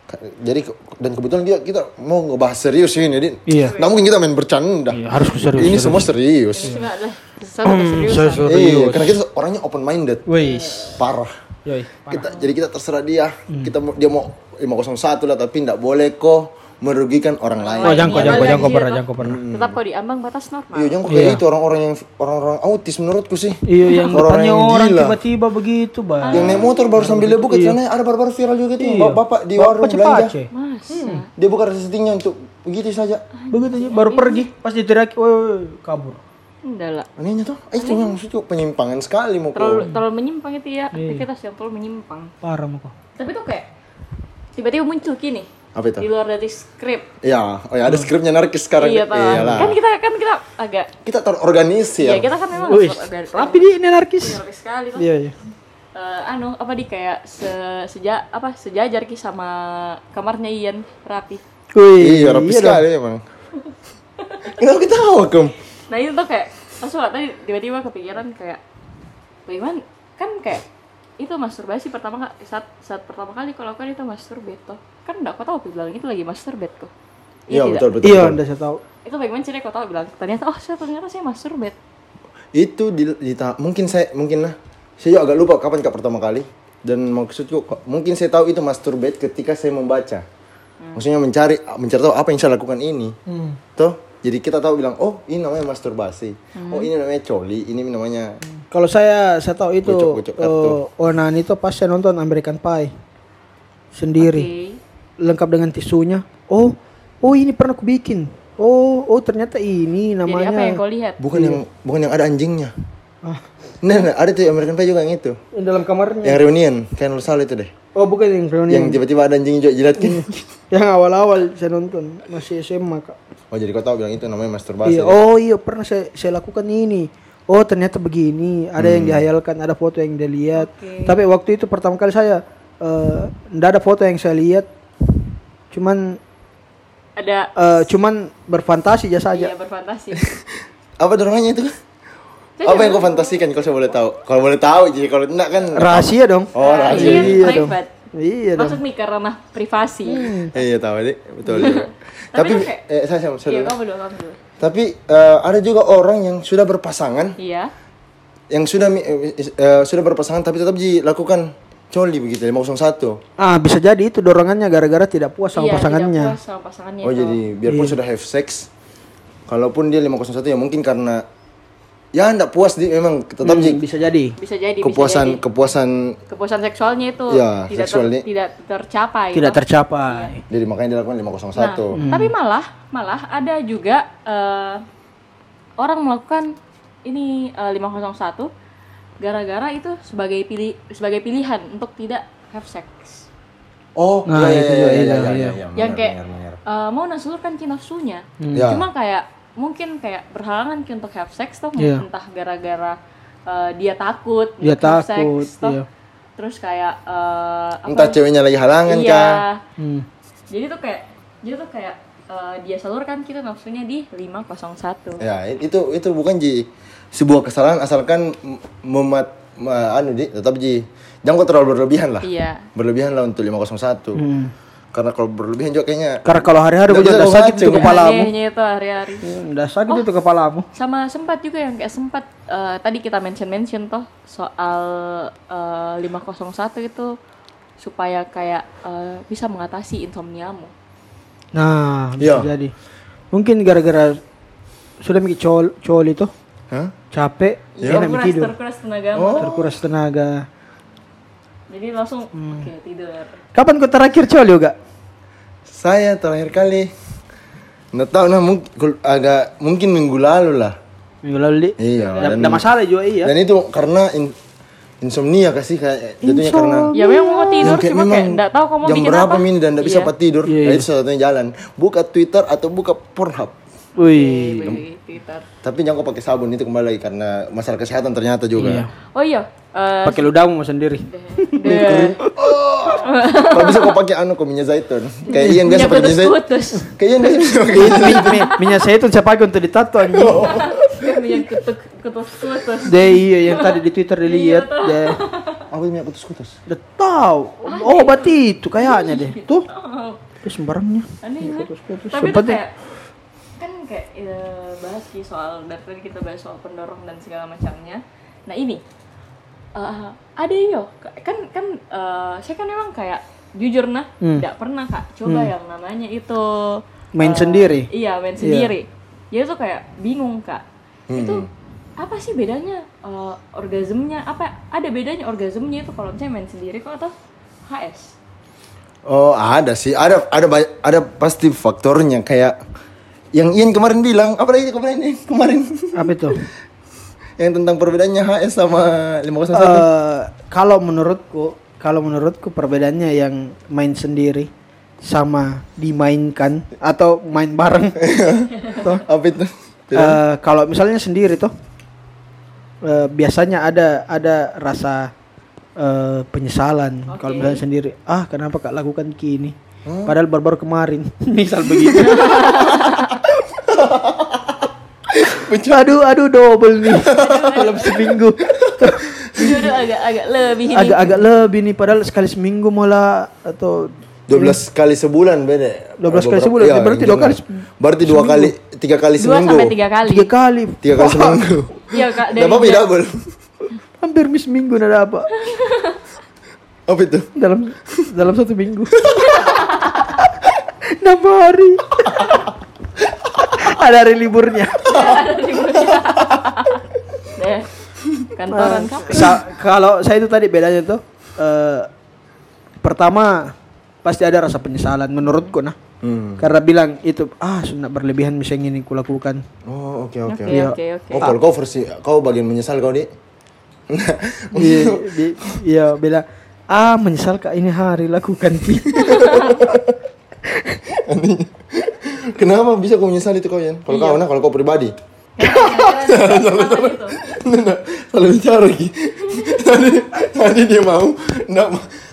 Speaker 2: Ka- Jadi ke- dan kebetulan kita kita mau ngebahas serius ini jadi
Speaker 3: Iya.
Speaker 2: nggak mungkin kita main bercanda.
Speaker 3: Iya, harus serius,
Speaker 2: Ini
Speaker 3: serius. Iya.
Speaker 2: semua serius.
Speaker 1: Ini cuma lah sesuatu keseriusan.
Speaker 3: Hmm, Serius.
Speaker 2: Iya, karena kita orangnya open minded.
Speaker 3: wis
Speaker 2: Parah.
Speaker 3: yoi
Speaker 2: Kita jadi kita terserah dia.
Speaker 3: Hmm.
Speaker 2: Kita mau dia mau 501 lah tapi nggak boleh kok merugikan orang lain.
Speaker 3: oh jangko
Speaker 1: Iya,
Speaker 3: jangko
Speaker 1: balik
Speaker 3: jangko
Speaker 1: lagi
Speaker 3: pernah
Speaker 1: ya,
Speaker 3: jangko pernah
Speaker 1: Tetap kau di ambang batas normal.
Speaker 2: Iya, jangan kok kayak
Speaker 3: Iya.
Speaker 2: itu orang-orang yang orang-orang autis menurutku sih.
Speaker 3: iya yang depannya
Speaker 2: yang
Speaker 3: orang
Speaker 2: gila.
Speaker 3: tiba-tiba begitu bang
Speaker 2: Yang naik motor baru sambil dia buka celananya ada barbar viral juga tuh. Bapak, bapak di warung belanja.
Speaker 3: Iya. cepat
Speaker 1: Masa?
Speaker 3: Hmm.
Speaker 2: Dia buka resistingnya untuk begitu saja.
Speaker 3: begitu aja baru pergi pas diteriaki woi, woi, kabur
Speaker 1: Enggak lah.
Speaker 2: Anehnya tuh, eh, itu yang maksudku penyimpangan sekali mau
Speaker 1: Terlalu
Speaker 2: kok.
Speaker 1: terlalu menyimpang itu ya
Speaker 3: Iya.
Speaker 1: aktivitas yang terlalu menyimpang.
Speaker 3: parah mau kok
Speaker 1: Tapi tuh kayak tiba-tiba muncul kini
Speaker 2: Apa itu?
Speaker 1: di luar dari skrip.
Speaker 2: Ya, oh ya ada skripnya narkis sekarang.
Speaker 1: Iya, Pak.
Speaker 2: Iyalah. Iya.
Speaker 1: Kan kita kan kita agak
Speaker 2: Kita
Speaker 1: ya,
Speaker 2: terorganisir.
Speaker 1: kita kan memang
Speaker 3: wis
Speaker 1: agak-
Speaker 3: rapi di ini anarkis
Speaker 1: agak sekali tuh.
Speaker 3: iya iya
Speaker 1: Eh, anu apa di kayak se seja apa sejajar ki sama kamarnya Ian rapi.
Speaker 3: wih
Speaker 2: Iya, rapi sekali emang. Kenapa kita tahu, Kem?
Speaker 1: Nah itu tuh kayak langsung lah, tadi tiba-tiba kepikiran kayak bagaimana kan kayak itu masturbasi pertama ka- saat saat pertama kali kalau kan itu masturbate toh kan enggak kau tahu aku bilang itu lagi masturbate kok
Speaker 2: Iya,
Speaker 1: tidak?
Speaker 2: betul, betul.
Speaker 3: iya
Speaker 2: betul.
Speaker 3: anda saya tahu
Speaker 1: itu bagaimana sih kau tahu bilang ternyata oh saya ternyata saya masturbate
Speaker 2: Itu di, di ta- mungkin saya mungkin lah. Saya juga agak lupa kapan kak pertama kali. Dan maksudku ko- mungkin saya tahu itu masturbate ketika saya membaca.
Speaker 1: Hmm.
Speaker 2: Maksudnya mencari mencari tahu apa yang saya lakukan ini.
Speaker 3: Hmm.
Speaker 2: Toh, jadi kita tahu bilang, oh ini namanya masturbasi.
Speaker 1: Hmm.
Speaker 2: Oh ini namanya coli, ini namanya
Speaker 3: Kalau saya saya tahu itu
Speaker 2: Gocok-gocok kartu.
Speaker 3: eh, onani itu pas saya nonton American Pie sendiri
Speaker 1: Oke.
Speaker 3: lengkap dengan tisunya. Oh, oh ini pernah aku bikin. Oh, oh ternyata ini
Speaker 1: jadi
Speaker 3: namanya.
Speaker 1: apa yang kau lihat
Speaker 2: bukan yang bukan yang ada anjingnya. Nah, nah, ada tuh American Pie juga yang itu.
Speaker 3: Yang dalam kamarnya.
Speaker 2: Yang reunion, kan lu salah itu deh.
Speaker 3: Oh, bukan yang reunion.
Speaker 2: Yang tiba-tiba ada anjing juga jilat kan.
Speaker 3: Yang awal-awal saya nonton masih SMA kak.
Speaker 2: Oh jadi kau tahu bilang itu namanya ya? masturbasi.
Speaker 3: Iya. Oh iya pernah saya, saya lakukan ini. Oh ternyata begini. Ada
Speaker 2: Hmm.
Speaker 3: yang dihayalkan, ada foto yang dia lihat. Tapi waktu itu pertama kali saya eh, ndak ada foto yang saya lihat. Cuman
Speaker 1: ada
Speaker 3: eh, cuman berfantasi aja saja.
Speaker 1: iya berfantasi
Speaker 2: Apa dorongannya itu? Apa yang kau fantasikan kalau saya boleh tahu? Kalau boleh tahu jadi kalau enggak kan
Speaker 3: Rahasia dong.
Speaker 2: Oh, rahasia.
Speaker 1: Ian
Speaker 3: Iya dong.
Speaker 1: private
Speaker 3: Iya dong. Hmm,
Speaker 1: maksud nih karena privasi
Speaker 2: Iya tahu deh, betul juga. Tapi
Speaker 1: Tapi tuh kayak-
Speaker 2: eh saya saya- saya
Speaker 1: iya
Speaker 2: dulu.
Speaker 1: kamu dulu kamu dulu
Speaker 2: Tapi eh, ada juga orang yang sudah berpasangan,
Speaker 1: iya
Speaker 2: yang sudah mi- eh, eh, sudah berpasangan tapi tetap dilakukan coli begitu 501.
Speaker 3: Ah, bisa jadi itu dorongannya gara-gara tidak puas sama
Speaker 1: Iya, tidak
Speaker 3: pasangannya.
Speaker 1: puas sama pasangannya
Speaker 2: Oh
Speaker 1: itu.
Speaker 2: jadi
Speaker 3: Iya.
Speaker 2: biarpun sudah have sex, kalaupun dia 501 ya mungkin karena ya enggak puas dia memang tetap
Speaker 3: Hmm,
Speaker 2: jadi
Speaker 3: bisa jadi.
Speaker 1: bisa jadi bisa
Speaker 2: kepuasan
Speaker 1: jadi.
Speaker 2: kepuasan
Speaker 1: kepuasan seksualnya itu
Speaker 2: Iya,
Speaker 1: tidak ter-
Speaker 2: seksualnya.
Speaker 1: tidak tercapai
Speaker 3: Tidak Hmm.
Speaker 1: toh.
Speaker 3: tercapai.
Speaker 2: jadi makanya dilakukan 501.
Speaker 1: Nah, tapi malah malah ada juga eh, orang melakukan ini eh, 501 gara-gara itu sebagai pilih sebagai pilihan untuk tidak have sex
Speaker 2: Oh,
Speaker 3: Nah,
Speaker 2: iya,
Speaker 3: itu
Speaker 2: iya,
Speaker 3: juga,
Speaker 2: iya,
Speaker 3: iya,
Speaker 2: iya, iya,
Speaker 3: iya.
Speaker 2: iya,
Speaker 1: Hmm. yang
Speaker 2: benar,
Speaker 1: kayak
Speaker 2: benar, benar.
Speaker 1: eh, mau nasulkan cinta nafsunya
Speaker 3: Hmm.
Speaker 2: Ya.
Speaker 1: cuma kayak mungkin kayak berhalangan ki untuk have sex tuh
Speaker 3: Iya.
Speaker 1: entah gara-gara eh, dia takut
Speaker 3: Dia
Speaker 1: untuk have
Speaker 3: takut,
Speaker 1: sex, toh.
Speaker 3: iya.
Speaker 1: terus kayak eh, apa
Speaker 2: Entah
Speaker 1: nih?
Speaker 2: ceweknya lagi halangan
Speaker 1: iya.
Speaker 2: kah?
Speaker 3: Hmm.
Speaker 1: Jadi tuh kayak jadi tuh kayak eh, dia salurkan kita nafsunya di 501.
Speaker 2: Ya, i- itu itu bukan ji sebuah kesalahan asalkan m- memat ma- anu ji tetap ji. Jangan kau terlalu berlebihan lah.
Speaker 1: Iya.
Speaker 2: Berlebihan lah untuk 501.
Speaker 3: Hmm.
Speaker 2: Karena kalau berlebihan juga kayaknya
Speaker 3: Karena kalau hari-hari
Speaker 2: Nggak
Speaker 3: udah
Speaker 2: bisa
Speaker 3: udah
Speaker 2: ada
Speaker 3: sakit
Speaker 2: satu.
Speaker 3: itu kepalamu. Hmm,
Speaker 1: Anehnya Iya, itu hari-hari.
Speaker 3: Udah sakit
Speaker 1: Oh.
Speaker 3: itu kepalamu.
Speaker 1: Sama sempat juga yang kayak sempat eh, tadi kita mention-mention toh soal eh, 501 itu supaya kayak eh, bisa mengatasi insomniamu.
Speaker 3: Nah,
Speaker 2: Iya.
Speaker 3: bisa jadi. Mungkin gara-gara sudah mikir col col itu
Speaker 2: Hah?
Speaker 3: capek,
Speaker 1: Iya,
Speaker 3: enak
Speaker 1: terkuras,
Speaker 3: tidur,
Speaker 1: terkuras tenagamu.
Speaker 2: Oh.
Speaker 3: terkuras tenaga.
Speaker 1: Jadi langsung
Speaker 2: Hmm.
Speaker 1: oke tidur.
Speaker 3: Kapan kau terakhir col juga?
Speaker 2: Saya terakhir kali nggak tahu nah mung- kul- agak mungkin minggu lalu lah.
Speaker 3: Minggu lalu Li.
Speaker 2: Iya.
Speaker 3: Ada masalah juga iya.
Speaker 2: Dan itu karena in- insomnia kasih kayak jatuhnya karena
Speaker 1: Ya memang mau tidur
Speaker 2: Yang kayak
Speaker 1: cuma kayak enggak tahu kamu
Speaker 2: jam
Speaker 1: bikin
Speaker 2: berapa
Speaker 1: apa.
Speaker 2: min dan enggak bisa
Speaker 1: Iya.
Speaker 2: apa tidur.
Speaker 3: Iya,
Speaker 2: Nah,
Speaker 3: iya.
Speaker 2: itu satu satunya jalan. Buka Twitter atau buka Pornhub.
Speaker 3: Wih.
Speaker 1: Wih, Twitter.
Speaker 2: Tapi jangan kau pakai sabun itu kembali lagi karena masalah kesehatan ternyata juga.
Speaker 3: Iya.
Speaker 1: Oh iya, eh,
Speaker 3: Pakai ludahmu sendiri.
Speaker 1: the-
Speaker 2: Kalau bisa kau pakai anu kau minyak zaitun. Kayak Ian biasa
Speaker 1: minyak
Speaker 2: pakai minyak zaitun.
Speaker 1: putus-putus.
Speaker 2: Kayak Ian biasa pakai
Speaker 3: Itu min- min- minyak zaitun saya pakai untuk ditato anjing.
Speaker 1: minyak kutuk- kutus-putus.
Speaker 3: Deh iya yang tadi di Twitter dilihat deh.
Speaker 2: Aku minyak kutus-kutus.
Speaker 3: Udah tahu. Oh, obat itu kayaknya deh. Tuh. Itu sembarangnya.
Speaker 1: Aneh kan?
Speaker 3: Kutus-kutus.
Speaker 1: Tapi itu
Speaker 3: Sempat deh.
Speaker 1: kayak kan kayak eh, bahas sih soal dari tadi kita bahas soal pendorong dan segala macamnya. Nah ini eh, ada yo kan kan eh, saya kan memang kayak jujur nah
Speaker 3: Hmm.
Speaker 1: tidak pernah kak coba yang namanya itu
Speaker 3: Main
Speaker 1: eh,
Speaker 3: sendiri?
Speaker 1: iya main sendiri jadi tuh kayak bingung kak
Speaker 3: Hmm.
Speaker 1: itu apa sih bedanya eh, orgasmenya apa ada bedanya orgasmenya itu kalau misalnya main sendiri kok atau HS
Speaker 2: Oh, ada sih. Ada ada banyak- ada pasti faktornya kayak yang Ian kemarin bilang, apa lagi kemarin Ian? kemarin
Speaker 3: Apa itu?
Speaker 2: yang tentang perbedaannya HS sama 501.
Speaker 3: Eh, kalau menurutku, kalau menurutku perbedaannya yang main sendiri sama dimainkan atau main bareng. Tuh.
Speaker 2: apa itu? kan?
Speaker 3: Eh, kalau misalnya sendiri tuh eh, biasanya ada ada rasa eh, penyesalan kalau misalnya sendiri. Ah, kenapa Kak lakukan kini?
Speaker 2: Oh.
Speaker 3: Padahal baru-baru kemarin. Misal begitu. aduh, aduh double nih. Dalam seminggu.
Speaker 1: Jujur agak agak lebih ini
Speaker 3: agak-agak lebih nih padahal sekali seminggu malah atau
Speaker 2: 12 kali sebulan beda.
Speaker 3: 12 kali
Speaker 2: Beberapa-
Speaker 3: sebulan, Ya,
Speaker 2: iya,
Speaker 3: berarti dua
Speaker 2: jangan.
Speaker 3: kali se-
Speaker 2: Berarti dua kali, tiga kali
Speaker 1: dua
Speaker 2: seminggu.
Speaker 1: sampai tiga kali
Speaker 3: tiga kali
Speaker 2: Tiga kali seminggu.
Speaker 1: Iya kak
Speaker 2: Gak apa-apa ya, double.
Speaker 3: hampir miss minggu nggak ada apa
Speaker 2: Apa itu?
Speaker 3: dalam dalam satu minggu enam hari ada hari liburnya
Speaker 1: Deh, kantoran Kan kak
Speaker 3: Sa- kalau saya itu tadi bedanya tuh eh, pertama pasti ada rasa penyesalan menurutku nah karena bilang itu ah sudah berlebihan misalnya ini kulakukan
Speaker 2: Oh, oke oke.
Speaker 1: oke oke oke
Speaker 2: Oh, kalau kau versi, kau bagian menyesal kau di.
Speaker 3: Iya, di- iya bela. Ah, menyesal kak ini hari lakukan.
Speaker 2: Kenapa bisa kau menyesal itu kau Yan? Kalau
Speaker 1: Iya.
Speaker 2: kau nah, kalau kau pribadi.
Speaker 1: gitu.
Speaker 2: Kalau bicara lagi. tadi tadi dia mau enggak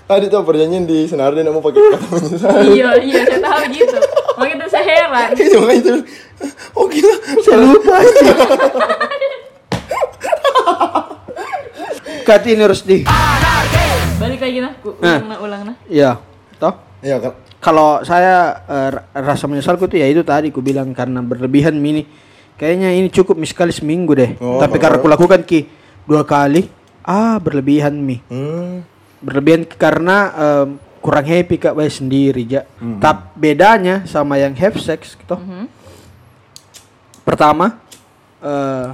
Speaker 2: tadi tuh perjanjian di senar dia nggak mau pakai kata menyesal.
Speaker 1: iya iya saya tahu gitu makanya tuh saya heran
Speaker 2: Itu makanya itu. Oh gila.
Speaker 3: Saya lupa. Kat ini harus di.
Speaker 1: balik lagi nah Ku- ulang nah ulang nah
Speaker 3: Iya, toh.
Speaker 2: Iya kan.
Speaker 3: Kalau saya eh, ra- rasa menyesalku tuh ya itu tadi ku bilang karena berlebihan mini. Kayaknya ini cukup mi sekali seminggu deh. Tapi karena aku lakukan ki dua kali, ah berlebihan mi.
Speaker 2: Hmm.
Speaker 3: berlebihan karena em, kurang happy kak bayi sendiri ja. Tapi bedanya sama yang have sex gitu. Pertama eh,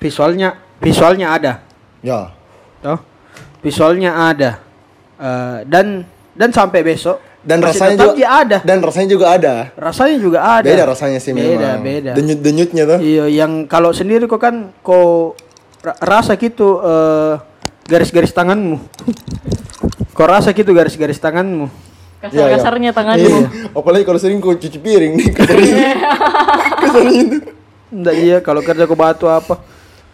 Speaker 3: visualnya visualnya ada,
Speaker 2: Ya.
Speaker 3: toh visualnya ada Eh, dan dan sampai besok
Speaker 2: Dan
Speaker 3: masih
Speaker 2: rasanya
Speaker 3: tetap
Speaker 2: juga
Speaker 3: dia ada.
Speaker 2: Dan rasanya juga ada.
Speaker 3: rasanya juga ada.
Speaker 2: Beda rasanya sih
Speaker 3: Beda
Speaker 2: memang.
Speaker 3: beda.
Speaker 2: Denyut-denyutnya tuh.
Speaker 3: Iya, yang kalau sendiri kok kan kau ra- rasa gitu eh, garis-garis tanganmu. kau rasa gitu garis-garis tanganmu.
Speaker 1: kasar kasarnya tanganmu
Speaker 2: Iya. Apalagi kalau sering kau cuci
Speaker 3: Iya.
Speaker 2: piring nih. Keseringan. Keseringan.
Speaker 3: Enggak iya kalau kerja ke batu apa.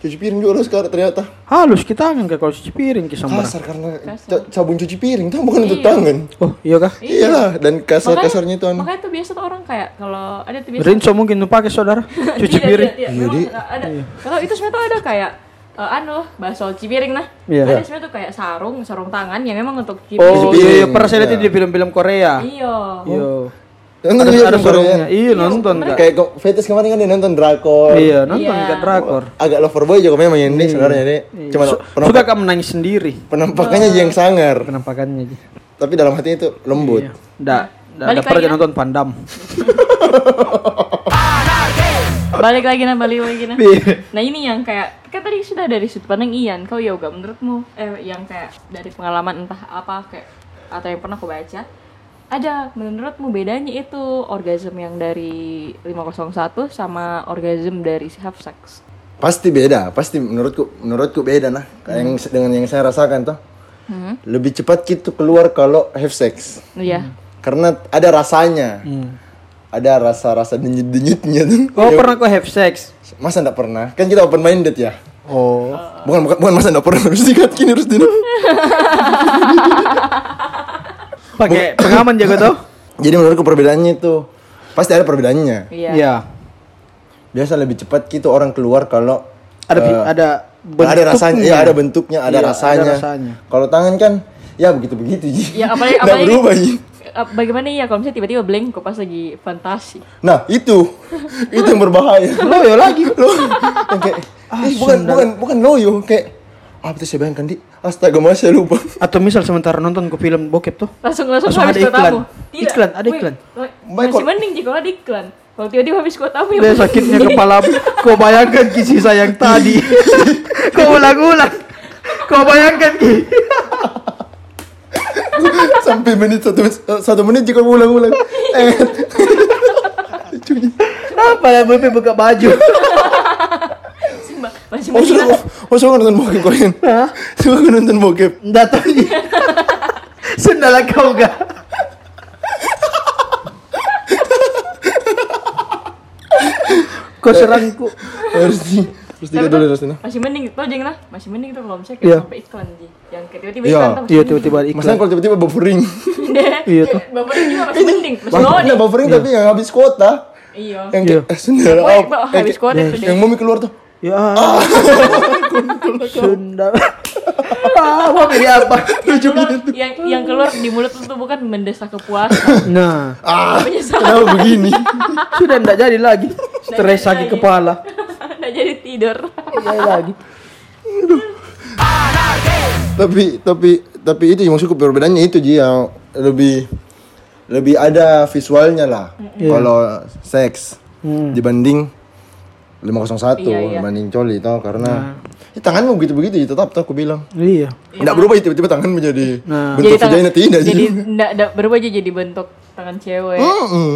Speaker 2: cuci piring juga harus sekarang ternyata
Speaker 3: Halus kita angin kayak kalau cuci piring kisah Mbak.
Speaker 2: kasar karena ca- sabun cuci piring tuh bukan untuk tangan
Speaker 3: Oh iya kah?
Speaker 2: iyalah dan kasar kasarnya itu anu
Speaker 1: makanya tuh biasa tuh orang kayak kalau ada tuh biasa
Speaker 3: Rinso mungkin tuh pakai saudara cuci
Speaker 1: Tidak,
Speaker 3: piring.
Speaker 1: tidak, tidak. Memang
Speaker 2: Jadi-
Speaker 1: nggak ada. Kalau itu sebenarnya tuh ada kayak eh, anu bahas soal cuci piring nah.
Speaker 3: Iya.
Speaker 1: Ada sebenarnya tuh kayak sarung, sarung tangan yang memang untuk cuci
Speaker 2: piring.
Speaker 3: Oh iya, iya pernah saya lihat di film-film Korea.
Speaker 1: Iya.
Speaker 3: Iya.
Speaker 2: nonton
Speaker 3: Ada,
Speaker 2: juga
Speaker 3: ada
Speaker 2: film Korea
Speaker 3: sarungnya. Iya nonton kak.
Speaker 2: kayak kok Fetis kemarin kan dia nonton drakor
Speaker 3: Iya nonton
Speaker 1: Iya.
Speaker 3: kak drakor. Iya.
Speaker 2: agak loverboy juga memang ini sebenarnya ini cuma
Speaker 3: Su-
Speaker 2: penampak-
Speaker 3: Suka kamu nangis sendiri
Speaker 2: penampakannya aja yang sangar
Speaker 3: penampakannya aja.
Speaker 2: tapi dalam hati itu lembut
Speaker 3: Nggak, nggak ada
Speaker 1: Balik
Speaker 3: pernah
Speaker 1: lagi,
Speaker 3: nonton Pandam.
Speaker 1: Balik lagi nah, balik lagi nah.
Speaker 3: Iya.
Speaker 1: Nah ini yang kayak kan tadi sudah dari sudut pandang Ian, kau yoga menurutmu eh yang kayak dari pengalaman entah apa kayak atau yang pernah kau baca ada menurutmu bedanya itu orgasm yang dari 501 sama orgasm dari si half sex?
Speaker 2: pasti beda pasti menurutku menurutku beda nah kayak yang dengan yang saya rasakan tuh
Speaker 1: Hmm.
Speaker 2: lebih cepat gitu keluar kalau have sex
Speaker 1: Iya.
Speaker 3: Hmm.
Speaker 2: karena ada rasanya ada rasa-rasa denyut-denyutnya tuh
Speaker 3: Oh pernah kau have sex?
Speaker 2: masa ndak pernah kan kita open minded ya
Speaker 3: Oh.
Speaker 2: bukan bukan, bukan masa ndak pernah kan harus dikat kini harus dinu
Speaker 3: Pakai pengaman jago tau?
Speaker 2: jadi menurutku perbedaannya itu pasti ada perbedaannya
Speaker 1: Iya.
Speaker 2: biasa lebih cepat gitu orang keluar kalau
Speaker 3: Ada
Speaker 2: eh,
Speaker 3: fi- ada
Speaker 2: ada rasanya
Speaker 3: bentuknya.
Speaker 2: ya ada bentuknya ada
Speaker 3: Iya, ada
Speaker 2: rasanya,
Speaker 3: rasanya.
Speaker 2: kalau tangan kan ya begitu begitu ji
Speaker 1: Ya, apalagi-
Speaker 2: Nggak
Speaker 1: apalagi-
Speaker 2: berubah Ji.
Speaker 1: Eh, Bagaimana ya kalau misalnya tiba-tiba blank kok pas lagi fantasi?
Speaker 2: nah itu itu yang berbahaya
Speaker 3: Loyo lagi.
Speaker 2: Lo- yang kayak
Speaker 3: Ah,
Speaker 2: "Ih, bukan bukan bukan loyo kayak apa tuh saya bayangkan di astaga mas saya lupa
Speaker 3: Atau misal sementara nonton ke film bokep tuh.
Speaker 1: Langsung langsung,
Speaker 3: Langsung
Speaker 1: habis
Speaker 3: ada
Speaker 1: kuotamu.
Speaker 3: iklan. Iklan, ada
Speaker 1: Wih,
Speaker 3: iklan.
Speaker 1: wah,
Speaker 2: Baik,
Speaker 1: Masih
Speaker 2: kalau-
Speaker 1: mending jika ada iklan. Kalau tiba-tiba habis kuotamu ya.
Speaker 3: Dia sakitnya kepala. Kau bayangkan kisah saya yang tadi. Kau ulang-ulang. Kau bayangkan ki.
Speaker 2: sampai menit satu eh, satu menit jika ulang-ulang eh
Speaker 3: Apa yang bebe buka baju?
Speaker 1: Masih
Speaker 2: oh
Speaker 1: mending.
Speaker 2: sudah oh sudah nonton bokep kalian sudah nonton bokep
Speaker 3: Nggak tahu. Sendal kau gak? Kau serangku.
Speaker 2: harus di harus
Speaker 1: Tapi
Speaker 2: tiga dulu
Speaker 1: tuh,
Speaker 2: harus di-
Speaker 1: Masih mending tuh jeng lah. Masih mending tuh kalau misalnya
Speaker 3: Iya.
Speaker 1: kayak sampai iklan sih. Yang kayak tiba-tiba
Speaker 2: Iya.
Speaker 1: iklan tuh masih
Speaker 3: Iya
Speaker 1: mending.
Speaker 3: tiba-tiba ada
Speaker 2: Masalahnya
Speaker 3: iklan.
Speaker 2: kalau tiba-tiba buffering
Speaker 3: Iya tuh.
Speaker 1: Bapaknya juga masih mending. Masih
Speaker 2: Nah,
Speaker 1: loading.
Speaker 2: buffering tapi yang habis kuota
Speaker 1: Iya.
Speaker 2: yang
Speaker 3: Iya.
Speaker 2: kayak eh, sendal
Speaker 1: Woi,
Speaker 2: out.
Speaker 1: Pak,
Speaker 2: Yang
Speaker 1: habis
Speaker 2: kayak-
Speaker 1: kuota tuh
Speaker 2: yang
Speaker 1: deh.
Speaker 2: mami keluar tuh "Eh,
Speaker 3: Ya. Sunda. Ah, mau pilih apa?
Speaker 2: lucu banget tuh.
Speaker 1: Yang yang keluar di mulut itu tuh bukan mendesak kepuasan.
Speaker 3: Nah,
Speaker 2: ah
Speaker 1: Menyesal.
Speaker 2: kenapa begini
Speaker 3: sudah tidak jadi lagi.
Speaker 1: jadi
Speaker 3: Stres sakit
Speaker 1: lagi.
Speaker 3: kepala.
Speaker 1: Nggak jadi tidur.
Speaker 3: Tidak jadi lagi.
Speaker 2: tapi tapi tapi itu yang cukup perbedaannya itu Ji yang lebih lebih ada visualnya lah
Speaker 3: Iya.
Speaker 2: kalau seks
Speaker 3: Hmm.
Speaker 2: dibanding 501
Speaker 1: Iya, iya.
Speaker 2: dibanding coli tau karena
Speaker 3: Nah.
Speaker 2: Ya, tanganmu begitu begitu tetap tau aku bilang
Speaker 3: Iya.
Speaker 2: tidak berubah ya, tiba-tiba tangan menjadi
Speaker 3: Nah.
Speaker 2: bentuk vagina tidak Ji.
Speaker 1: Jadi enggak ada berubah aja jadi bentuk tangan cewek.
Speaker 2: Mm-mm.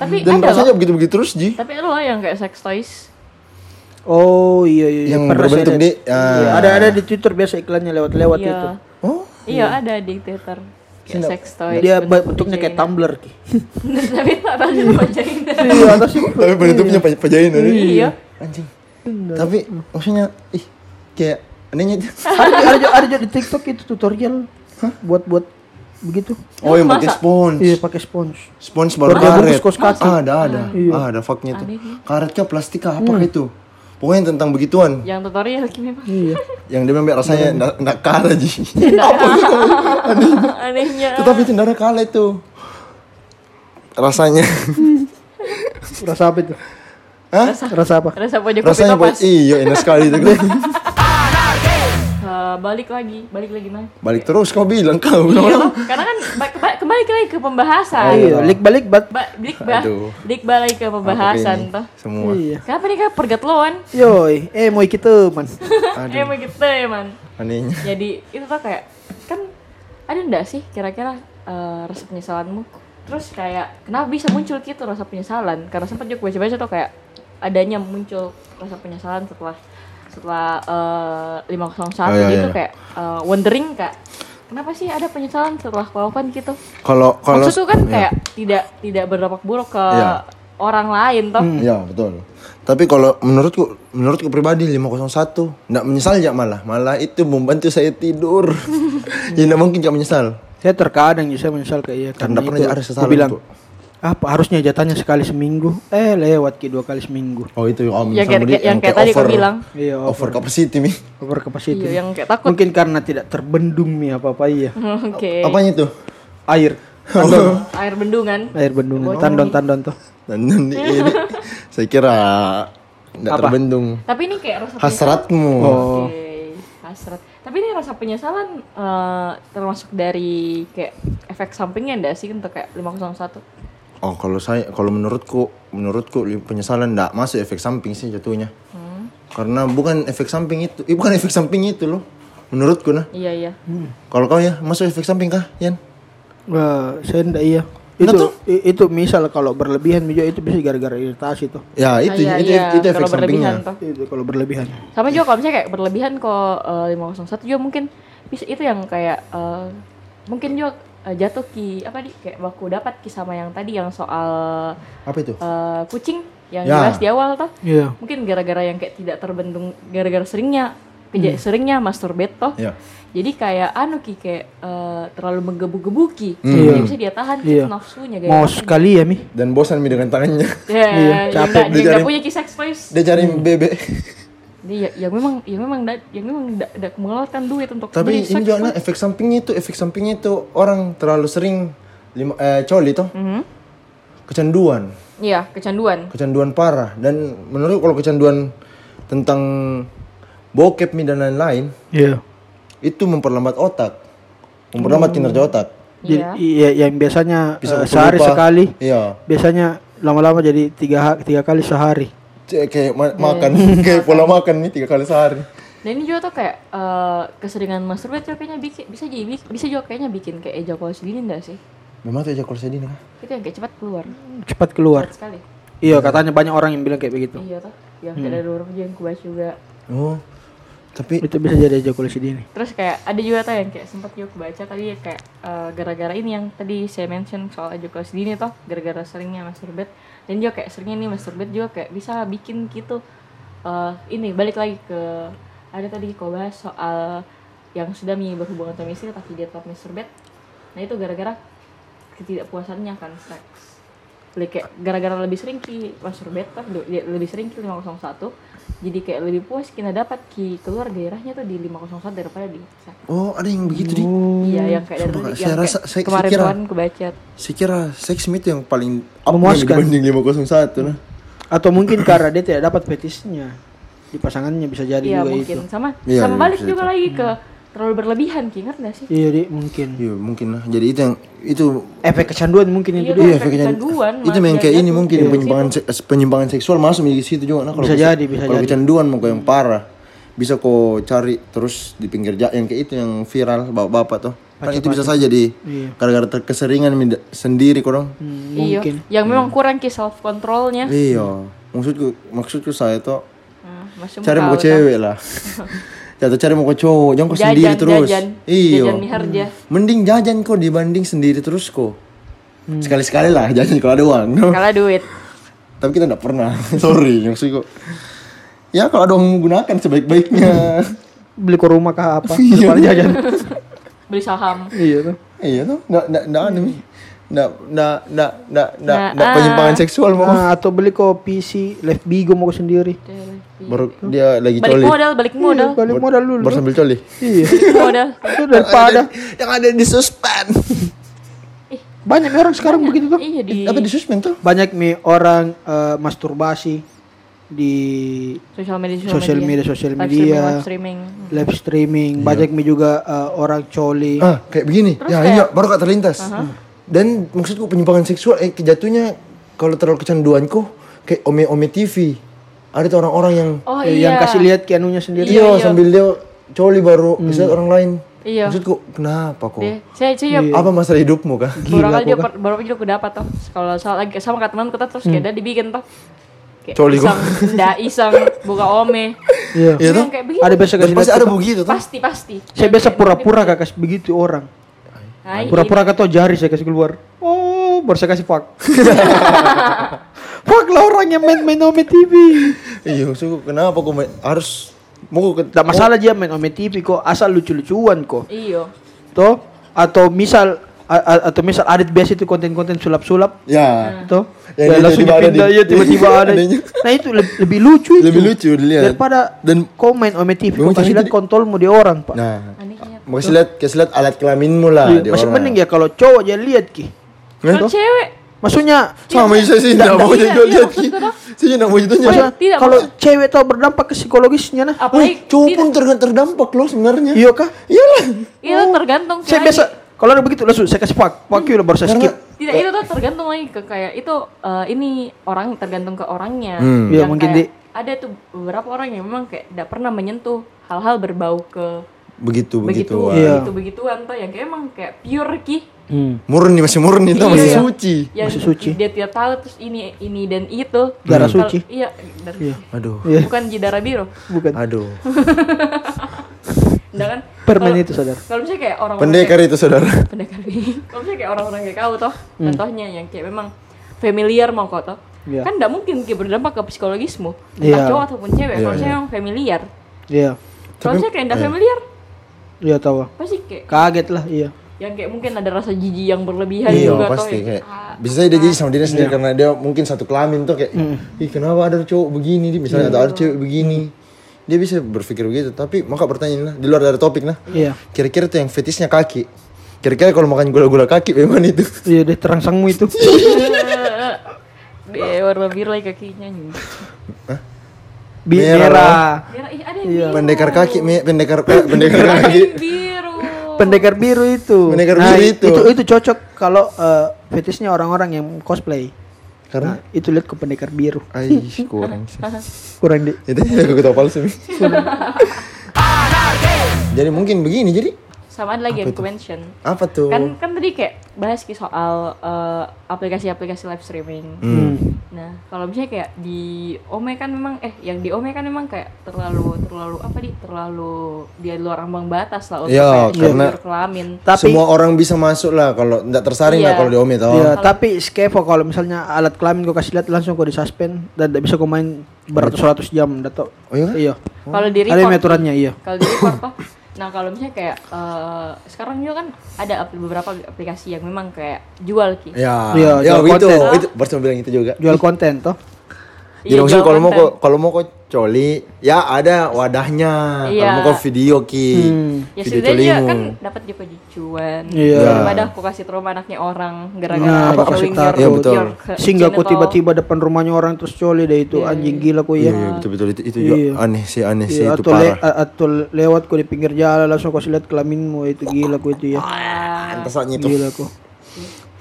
Speaker 1: Tapi
Speaker 2: dan
Speaker 1: ada
Speaker 2: rasanya
Speaker 1: loh.
Speaker 2: begitu begitu terus ji
Speaker 1: Tapi ada loh yang kayak sex toys.
Speaker 3: Oh iya iya
Speaker 2: Yang
Speaker 3: pernah saya
Speaker 2: berbentuk
Speaker 3: lihat.
Speaker 2: di- ah.
Speaker 3: Iya, ada ada di Twitter biasa iklannya lewat-lewat
Speaker 1: Iya.
Speaker 3: itu.
Speaker 2: oh
Speaker 1: Iya, ada di Twitter. Kayak sex toys.
Speaker 3: Dia
Speaker 1: bentuk
Speaker 3: bentuknya kayak
Speaker 1: vagina.
Speaker 3: tumbler ki.
Speaker 1: Tapi tak tahu sih mau vagina.
Speaker 3: Iya, atas itu.
Speaker 2: tapi penutupnya pa- vagina Ji.
Speaker 1: Iya.
Speaker 2: anjing tapi maksudnya ih kayak anehnya itu
Speaker 3: ada juga- ada juga- ada juga di TikTok itu tutorial buat buat begitu.
Speaker 2: oh yang pakai
Speaker 1: Masa?
Speaker 2: spons
Speaker 3: Iya pakai spons.
Speaker 2: spons baru
Speaker 3: Baru dia
Speaker 2: karet
Speaker 3: bungkus kaos kaki.
Speaker 2: Ah, ada ada
Speaker 1: Iya.
Speaker 2: ah, ada faknya tuh karet kah plastik kah apa
Speaker 1: Hmm.
Speaker 2: kah itu pokoknya tentang begituan
Speaker 1: Yang tutorial gimana?
Speaker 3: Iya.
Speaker 2: yang dia memang rasanya ndak ndak karet ji
Speaker 1: Anehnya.
Speaker 2: tetapi itu ndak ada karet tuh rasanya
Speaker 3: Rasa apa itu?
Speaker 2: Hah?
Speaker 3: Rasa apa?
Speaker 1: Rasa pojok kopi
Speaker 2: rasanya buat
Speaker 1: topas.
Speaker 2: iya enak sekali itu kan
Speaker 1: Eh, balik lagi, balik lagi nah.
Speaker 2: balik terus kau bilang kau
Speaker 1: Iya, karena kan ba- keba- kembali lagi ke pembahasan.
Speaker 3: Iya, balik bat.
Speaker 1: Ba balik ba-
Speaker 2: Oh, Aduh.
Speaker 1: balik balik ke pembahasan
Speaker 2: Apa
Speaker 1: toh.
Speaker 2: ini? semua
Speaker 3: Iya.
Speaker 1: Kenapa nih kak pergatloan?
Speaker 3: Yoi, eh mau kita man.
Speaker 1: Eh emang gitu ya man.
Speaker 2: anehnya
Speaker 1: jadi itu tuh kayak kan ada enggak sih kira-kira eh, rasa penyesalanmu terus kayak kenapa bisa muncul gitu rasa penyesalan karena sempat juga baca-baca tuh kayak adanya muncul rasa penyesalan setelah setelah eh, 501
Speaker 2: Oh, iya,
Speaker 1: gitu
Speaker 2: iya.
Speaker 1: kayak eh, wondering kak kenapa sih ada penyesalan setelah kelakuan gitu
Speaker 2: kalau kalau
Speaker 1: maksud tuh kan
Speaker 2: iya.
Speaker 1: kayak tidak tidak berdampak buruk ke
Speaker 2: Iya.
Speaker 1: orang lain toh
Speaker 2: Iya betul. Tapi kalau menurutku menurutku pribadi 501 enggak menyesal ya malah. Malah itu membantu saya tidur. ya enggak mungkin enggak menyesal.
Speaker 3: Saya terkadang juga saya menyesal kayak iya
Speaker 2: Karena
Speaker 3: karena
Speaker 2: pernah
Speaker 3: itu
Speaker 2: jadi ada
Speaker 3: aku
Speaker 2: kesalahan,
Speaker 3: bilang
Speaker 2: Bu.
Speaker 3: apa harusnya jatahnya sekali seminggu eh lewat ki dua kali seminggu
Speaker 2: Oh itu oh,
Speaker 1: Yang Ya,
Speaker 2: menyesal
Speaker 1: kayak-
Speaker 2: budi-
Speaker 1: yang kayak tadi kau bilang.
Speaker 3: Iya,
Speaker 2: over, capacity mi.
Speaker 3: over capacity.
Speaker 1: Iya, yang kayak takut. Hmm.
Speaker 3: Mungkin karena tidak terbendung nih apa apa iya
Speaker 1: oke
Speaker 2: Apanya itu?
Speaker 3: air
Speaker 1: air bendungan
Speaker 2: Eh.
Speaker 3: air bendungan tandon tandon tuh
Speaker 2: Nanti ini saya kira enggak terbendung.
Speaker 1: tapi ini kayak rasa
Speaker 2: Hasratmu.
Speaker 1: penyesalan. Oke, hasrat tapi ini rasa penyesalan eh, termasuk dari kayak efek sampingnya enggak sih untuk kayak 501
Speaker 2: Oh kalau saya kalau menurutku menurutku li- penyesalan tidak masuk efek samping sih jatuhnya.
Speaker 1: Hmm.
Speaker 2: Karena bukan efek samping itu, eh, bukan efek samping itu loh. Menurutku nah.
Speaker 1: iya iya
Speaker 2: Kalau kau ya masuk efek samping kah, Yan?
Speaker 3: Wah, saya enggak iya
Speaker 2: Nah,
Speaker 3: itu
Speaker 2: tuh.
Speaker 3: i- itu misal kalau berlebihan juga itu bisa gara-gara iritasi tuh
Speaker 2: Ya itu
Speaker 1: Ah, iya,
Speaker 2: itu,
Speaker 1: iya,
Speaker 2: itu efek
Speaker 1: kalau berlebihan
Speaker 2: sampingnya.
Speaker 1: toh.
Speaker 3: itu kalau berlebihan
Speaker 1: sama juga kalau misalnya kayak berlebihan kok eh, 501 juga mungkin bisa itu yang kayak eh, mungkin juga eh, jatuh ki apa di kayak baku dapat ki sama yang tadi yang soal
Speaker 2: Apa itu?
Speaker 1: eh, kucing yang
Speaker 2: Ya.
Speaker 1: jelas di awal toh
Speaker 3: iya
Speaker 1: mungkin gara-gara yang kayak tidak terbendung gara-gara seringnya keja- seringnya masturbate toh
Speaker 2: Ya.
Speaker 1: jadi kayak anu ki kayak eh, terlalu menggebu-gebu ki
Speaker 3: Iya.
Speaker 1: jadi bisa dia tahan ki
Speaker 3: Iya.
Speaker 1: nafsunya
Speaker 3: mau
Speaker 1: gaya-gaya.
Speaker 3: sekali ya mi
Speaker 2: Dan bosan mi dengan tangannya.
Speaker 1: ya,
Speaker 3: Iya,
Speaker 1: yang nggak-
Speaker 3: capek.
Speaker 1: yang nggak
Speaker 2: Dijarin.
Speaker 1: punya ki sex toys
Speaker 2: Dia cari
Speaker 1: Hmm.
Speaker 2: bebek.
Speaker 1: Iya, yang memang yang memang da, yang memang da, da, mengeluarkan duit untuk
Speaker 2: Tapi
Speaker 1: beli
Speaker 2: ini
Speaker 1: sex
Speaker 2: juga nah,
Speaker 1: toy.
Speaker 2: efek sampingnya itu efek sampingnya itu orang terlalu sering lima, eh, coli toh.
Speaker 1: Hmm.
Speaker 2: Kecanduan,
Speaker 1: Iya, kecanduan.
Speaker 2: kecanduan parah. Dan menurut kalau kecanduan tentang bokep mi dan lain-lain
Speaker 3: iya
Speaker 2: itu memperlambat otak, memperlambat kinerja otak.
Speaker 3: Jadi,
Speaker 1: Iya.
Speaker 3: iya yang biasanya Hmm. eh,
Speaker 2: Bisa
Speaker 3: sehari
Speaker 2: lupa.
Speaker 3: sekali
Speaker 2: Iya.
Speaker 3: biasanya lama-lama jadi tiga ha- tiga kali sehari
Speaker 2: Cek, Kayak
Speaker 3: Hmm.
Speaker 2: ma- makan, kayak pola makan nih tiga kali sehari.
Speaker 1: Dan ini juga tuh kayak eh, keseringan masturbate juga kayaknya bikin bisa jadi bi- bisa juga kayaknya bikin kayak ejakulasi dini enggak sih?
Speaker 2: Memang tuh ejakulasi dini kah?
Speaker 1: Itu yang kayak cepat keluar.
Speaker 3: cepat keluar
Speaker 1: Cepat sekali.
Speaker 3: iya katanya banyak orang yang bilang kayak begitu
Speaker 1: Iya tuh. Yang kayak dari luar juga yang kubaca juga.
Speaker 2: Oh, tapi
Speaker 3: itu bisa jadi ejakulasi dini
Speaker 1: Terus kayak ada juga tuh yang kayak sempat juga kubaca tadi ya kayak eh, gara-gara ini yang tadi saya mention soal ejakulasi dini toh gara-gara seringnya masturbate dan juga kayak seringnya nih masturbate juga kayak bisa bikin gitu eh, ini balik lagi ke ada tadi kau bahas soal yang sudah mi berhubungan sama istri tapi dia tetap masturbate nah itu gara-gara ketidakpuasannya kan seks Jadi kayak gara-gara lebih sering ki masturbate toh du- dia lebih sering ki 501 jadi kayak lebih puas kita dapat ki keluar gairahnya tuh di 501 daripada di seks
Speaker 2: oh ada yang begitu
Speaker 3: Hmm.
Speaker 2: di.
Speaker 1: Iya yang kayak dari
Speaker 2: Sumpah,
Speaker 1: tadi,
Speaker 2: Hmm, saya
Speaker 1: yang
Speaker 2: rasa-
Speaker 1: kayak
Speaker 2: saya- saya
Speaker 1: kemarin
Speaker 2: kira-
Speaker 1: kemarin kebaca.
Speaker 2: Saya kira seks itu yang paling up
Speaker 3: Memuaskan.
Speaker 2: dibanding 501 nah.
Speaker 3: atau mungkin karena dia tidak dapat fetisnya di pasangannya bisa jadi
Speaker 1: Iya
Speaker 3: juga
Speaker 1: mungkin
Speaker 3: itu
Speaker 1: sama
Speaker 2: Iya,
Speaker 1: sama
Speaker 2: iya,
Speaker 1: balik
Speaker 2: bisa Hmm.
Speaker 1: juga lagi ke terlalu berlebihan ki ngerti gak sih?
Speaker 3: iya Di, mungkin
Speaker 2: Iya mungkin lah. Jadi itu yang itu
Speaker 3: efek kecanduan mungkin itu
Speaker 1: Iya,
Speaker 3: dia.
Speaker 1: tuh.
Speaker 2: iya
Speaker 1: efek
Speaker 2: efeknya-
Speaker 1: kecanduan,
Speaker 2: Itu
Speaker 1: malah
Speaker 2: yang kayak ini
Speaker 1: jatuh
Speaker 2: mungkin ya,
Speaker 1: ke
Speaker 2: penyimpangan seks- penyimpangan seksual masuk di situ juga nah kalau
Speaker 3: Bisa
Speaker 2: kese-
Speaker 3: jadi, bisa
Speaker 2: kalau
Speaker 3: jadi.
Speaker 2: kecanduan mau yang parah bisa kau cari terus di pinggir jalan yang kayak itu yang viral bapak-bapak tuh. Kan itu bisa saja di
Speaker 3: Iya.
Speaker 2: gara-gara ter- keseringan minda- sendiri kurang.
Speaker 3: Hmm,
Speaker 1: Iya,
Speaker 3: mungkin
Speaker 1: yang memang kurang ki self controlnya.
Speaker 2: Iya. Maksudku maksudku saya tuh
Speaker 1: Nah, masih
Speaker 2: cari
Speaker 1: mau
Speaker 2: mau
Speaker 1: tahu,
Speaker 2: cewek lah. Jatuh cari mau cowok, jangan
Speaker 1: tahu.
Speaker 2: kau sendiri
Speaker 1: Jajan,
Speaker 2: terus.
Speaker 1: Jajan,
Speaker 2: Iya.
Speaker 1: jajan miharja.
Speaker 2: Mending jajan kok dibanding sendiri terus kok.
Speaker 3: Hmm.
Speaker 2: Sekali-sekali lah jajan kalau ada uang.
Speaker 1: Kalah duit.
Speaker 2: Tapi kita nggak pernah. Sorry, maksudku. Ya kalau ada uang gunakan sebaik-baiknya.
Speaker 3: beli ke rumah kah apa
Speaker 2: Iya.
Speaker 3: depan jajan
Speaker 1: Beli saham.
Speaker 3: iya tuh
Speaker 2: iya tuh, nggak nggak nggak ada nih. Nggak nggak nggak nggak nggak
Speaker 1: Nah,
Speaker 2: nggak
Speaker 1: ah.
Speaker 2: penyimpangan seksual mau.
Speaker 3: Nah, atau beli kopi si Left Bigo mau sendiri
Speaker 2: Baru dia lagi
Speaker 1: Gitu. Balik
Speaker 2: coli.
Speaker 1: modal, balik modal.
Speaker 3: Iya, balik modal dulu
Speaker 2: Baru sambil coli.
Speaker 3: iya
Speaker 1: Balik modal.
Speaker 3: itu daripada
Speaker 2: yang ada di suspend.
Speaker 3: banyak orang sekarang begitu tuh
Speaker 1: Iya di
Speaker 2: Apa di suspend tuh?
Speaker 3: banyak mi orang eh, masturbasi di
Speaker 1: sosial media
Speaker 3: Sosial media, sosial
Speaker 1: Live
Speaker 3: media.
Speaker 1: streaming, live streaming.
Speaker 3: live streaming banyak mi juga eh, orang coli
Speaker 2: Ah, kayak begini. ya,
Speaker 1: kayak-
Speaker 2: iya, baru kak terlintas. Dan maksudku penyimpangan seksual eh kejatuhnya kalau terlalu kecanduanku kayak ome-ome TV. Ada tuh orang-orang yang
Speaker 1: Oh
Speaker 3: Eh,
Speaker 1: iya.
Speaker 3: yang kasih lihat kianunya sendiri
Speaker 2: iya, sambil dia coli baru bisa orang lain.
Speaker 1: Iya.
Speaker 2: Maksudku, kenapa kok?
Speaker 1: Dia- Saya saya
Speaker 3: Iya.
Speaker 2: Apa masalah hidupmu kah?
Speaker 1: beberapa kali dia
Speaker 3: kan.
Speaker 1: per- beberapa kali aku dapat toh kalau soal lagi sama kata teman kita terus
Speaker 3: Hmm.
Speaker 1: kayak ada dibikin toh kayak
Speaker 2: Coli gua.
Speaker 1: iseng ndak iseng buka ome
Speaker 3: iya
Speaker 2: Iya tuh.
Speaker 1: Yang kayak begitu
Speaker 3: ada biasa
Speaker 2: Dan
Speaker 3: kasih
Speaker 2: pasti
Speaker 3: lihat
Speaker 2: ada
Speaker 3: kita.
Speaker 2: begitu tuh.
Speaker 1: pasti pasti
Speaker 3: saya biasa
Speaker 1: iya.
Speaker 3: pura-pura kan? kakak begitu orang
Speaker 1: Nah, ini-
Speaker 3: pura-pura kata jari saya kasih keluar oh baru saya kasih pak Fuck lah orang yang main-main Ome TV.
Speaker 2: Iya, maksudku kenapa kok main- harus mau ke
Speaker 3: Tak masalah dia main Ome TV kok, asal lucu-lucuan kok.
Speaker 1: Iyo.
Speaker 3: Toh atau misal a- a- atau misal ada biasa itu konten-konten sulap-sulap
Speaker 2: Ya.
Speaker 3: Tuh.
Speaker 2: Yang
Speaker 3: Ya,
Speaker 2: dia
Speaker 3: langsung
Speaker 2: tiba-tiba ada
Speaker 3: dipindah
Speaker 2: di-
Speaker 3: ya tiba-tiba ada.
Speaker 2: adanya.
Speaker 3: Nah itu le- lebih lucu itu.
Speaker 2: Lebih lucu dilihat.
Speaker 3: Daripada
Speaker 2: Dan-
Speaker 3: dan kau main Ome TV kau
Speaker 2: Memang
Speaker 3: kasih
Speaker 2: itu
Speaker 3: lihat
Speaker 2: di-
Speaker 3: kontolmu di orang, Pak.
Speaker 2: Nah,
Speaker 1: Anehnya.
Speaker 2: mau kasih lihat, kasih lihat alat kelaminmu lah
Speaker 3: Iya,
Speaker 2: di
Speaker 3: Masih
Speaker 2: orang.
Speaker 3: mending ya kalau cowok aja lihat ki. Iya
Speaker 2: Hah?
Speaker 1: Kalau cewek
Speaker 3: Maksudnya
Speaker 2: Sama saya sih
Speaker 1: Tidak,
Speaker 2: enggak mau
Speaker 1: iya,
Speaker 2: jadi
Speaker 1: iya,
Speaker 2: lihat.
Speaker 1: maksudku dah.
Speaker 2: Saya enggak mau itu
Speaker 1: Maksudnya-
Speaker 3: maksudnya
Speaker 1: tidak,
Speaker 3: kalau
Speaker 1: maksud-
Speaker 3: cewek itu berdampak ke psikologisnya nah.
Speaker 1: apalagi
Speaker 2: cowok
Speaker 1: tidak-
Speaker 2: pun ter- terdampak loh sebenarnya.
Speaker 3: Iya kah?
Speaker 2: Iyalah.
Speaker 1: itu Iya, tergantung
Speaker 3: Saya
Speaker 1: lagi.
Speaker 3: biasa kalau ada begitu langsung saya kasih fuck, fuck you lah, baru saya
Speaker 2: Karena-
Speaker 3: skip.
Speaker 1: tidak itu tuh tergantung lagi ke kayak itu eh, ini orang tergantung ke orangnya.
Speaker 2: Hmm.
Speaker 1: Yang
Speaker 3: Iya, mungkin
Speaker 1: kayak
Speaker 3: di-
Speaker 1: ada tuh beberapa orang yang memang kayak tidak pernah menyentuh hal-hal berbau ke
Speaker 2: Begitu
Speaker 1: begitu
Speaker 2: begitu.
Speaker 3: Iya.
Speaker 1: begitu begituan tuh yang kayak emang kayak pure ki
Speaker 2: Murni masih murni tuh
Speaker 1: Iya,
Speaker 2: masih
Speaker 1: iya.
Speaker 2: suci.
Speaker 1: yang
Speaker 3: Masih suci.
Speaker 1: dia tidak tahu terus ini ini dan itu
Speaker 3: Darah
Speaker 1: Kalau-
Speaker 3: suci.
Speaker 1: iya, darah-
Speaker 3: Iya.
Speaker 2: Aduh.
Speaker 3: Iya,
Speaker 1: bukan jidara biru
Speaker 3: bukan.
Speaker 2: Aduh.
Speaker 1: Nah kan
Speaker 3: Permen
Speaker 1: kalau-
Speaker 3: itu, saudara.
Speaker 1: kalau misalnya kayak orang
Speaker 2: Pendekar itu saudara.
Speaker 1: pendekar kalau misalnya kayak orang-orang kayak kau toh
Speaker 2: Hmm.
Speaker 1: contohnya yang kayak memang familiar mau kau toh
Speaker 3: Iya.
Speaker 1: kan tidak mungkin kayak berdampak ke psikologismu
Speaker 3: Iya.
Speaker 1: entah cowok ataupun cewek
Speaker 2: Iya,
Speaker 1: kalau misalnya
Speaker 2: iya.
Speaker 1: memang familiar
Speaker 3: Iya.
Speaker 1: kalau
Speaker 2: Tapi-
Speaker 1: misalnya kayak tidak
Speaker 2: iya.
Speaker 1: familiar
Speaker 3: Iya tahu.
Speaker 1: pasti kayak
Speaker 3: Kaget lah, iya.
Speaker 1: yang kayak mungkin ada rasa jijik yang berlebihan
Speaker 2: Iya
Speaker 1: juga toh
Speaker 2: pasti
Speaker 1: yang-
Speaker 2: kayak
Speaker 1: Ah,
Speaker 2: bisa saja dia jadi sama dirinya
Speaker 3: Iya.
Speaker 2: sendiri karena dia mungkin satu kelamin tuh kayak
Speaker 3: Hmm.
Speaker 2: ih kenapa ada cowok begini dia misalnya
Speaker 3: Iya.
Speaker 2: atau ada cewek begini dia bisa berpikir begitu tapi maka pertanyaan lah di luar dari topik nah
Speaker 3: Iya.
Speaker 2: kira-kira tuh yang fetishnya kaki kira-kira kalau makan gula-gula kaki memang itu
Speaker 3: Iya, deh terang sangmu itu.
Speaker 1: dia warna biru lagi kakinya nih
Speaker 3: Merah.
Speaker 2: Merah.
Speaker 1: biru ih ada yang
Speaker 3: Iya.
Speaker 1: biru
Speaker 2: pendekar kaki me- pendekar eh, pendekar
Speaker 1: ada
Speaker 2: kaki
Speaker 1: yang biru
Speaker 3: Pendekar biru itu. Nah,
Speaker 2: Pendekar biru itu.
Speaker 3: Itu itu cocok kalau eh, fetishnya orang-orang yang cosplay.
Speaker 2: karena
Speaker 3: Nah, itu lihat ke pendekar biru.
Speaker 2: Aish, kurang sih.
Speaker 3: Kurang di.
Speaker 2: Jadi aku ketawa palsu. Mi. jadi mungkin begini jadi
Speaker 1: sama ada lagi yang ku mention
Speaker 2: apa tuh?
Speaker 1: kan kan tadi kayak bahas ki soal eh, aplikasi-aplikasi live streaming
Speaker 2: Hmm.
Speaker 3: Hmm.
Speaker 1: nah kalau misalnya kayak di Ome kan memang eh yang di Ome kan memang kayak terlalu terlalu apa di terlalu dia luar ambang batas lah untuk
Speaker 2: Iya,
Speaker 1: kayak
Speaker 2: karena-
Speaker 1: jujur kelamin
Speaker 3: Tapi
Speaker 2: Semua orang bisa masuk lah kalau nggak tersaring lah
Speaker 1: Iya.
Speaker 2: kalau di Omi tau.
Speaker 3: ya, tapi skepo kalau misalnya alat kelamin kau kasih lihat langsung kau disuspend dan tidak bisa kau main beratus-ratus jam dato.
Speaker 2: Oh iya kah?
Speaker 3: Iya.
Speaker 1: kalau di
Speaker 3: Ada yang
Speaker 1: record
Speaker 3: aturannya iya.
Speaker 1: kalau di record toh nah kalau misalnya kayak eh, sekarang juga kan ada apl- beberapa aplikasi yang memang kayak jual ki
Speaker 2: Ya,
Speaker 3: Iya,
Speaker 2: ya,
Speaker 3: jual
Speaker 2: gitu.
Speaker 3: konten.
Speaker 2: Itu baru bilang itu juga.
Speaker 3: Jual konten toh.
Speaker 2: Jadi
Speaker 1: Iya,
Speaker 2: maksudnya
Speaker 1: jual
Speaker 2: kalau mau
Speaker 1: konten.
Speaker 2: kok kalau mau kok coli, ya ada wadahnya.
Speaker 1: Iya.
Speaker 2: Kalau mau kok video ki,
Speaker 3: Hmm.
Speaker 1: ya
Speaker 2: video
Speaker 1: sudah dia
Speaker 2: colimu.
Speaker 1: kan dapat juga cuan
Speaker 3: Iya.
Speaker 1: daripada aku kasih trauma anaknya orang
Speaker 3: Nah,
Speaker 1: gara-gara
Speaker 3: kau
Speaker 1: apa
Speaker 3: kasih
Speaker 1: showing
Speaker 3: takut.
Speaker 2: Iya, betul.
Speaker 1: your ke-
Speaker 3: Sehingga kau
Speaker 1: genital.
Speaker 3: tiba-tiba depan rumahnya orang terus coli deh itu anjing gila kau
Speaker 2: Iya,
Speaker 3: ya.
Speaker 2: iya, betul-betul itu, itu juga
Speaker 3: Iya.
Speaker 2: aneh sih, aneh sih
Speaker 3: Iya,
Speaker 2: itu
Speaker 3: atau, le-
Speaker 2: parah.
Speaker 3: a- atau lewat kau di pinggir jalan langsung kau lihat kelaminmu itu gila kau itu ya.
Speaker 1: Ah.
Speaker 2: Antasannya itu.
Speaker 3: Gila kau.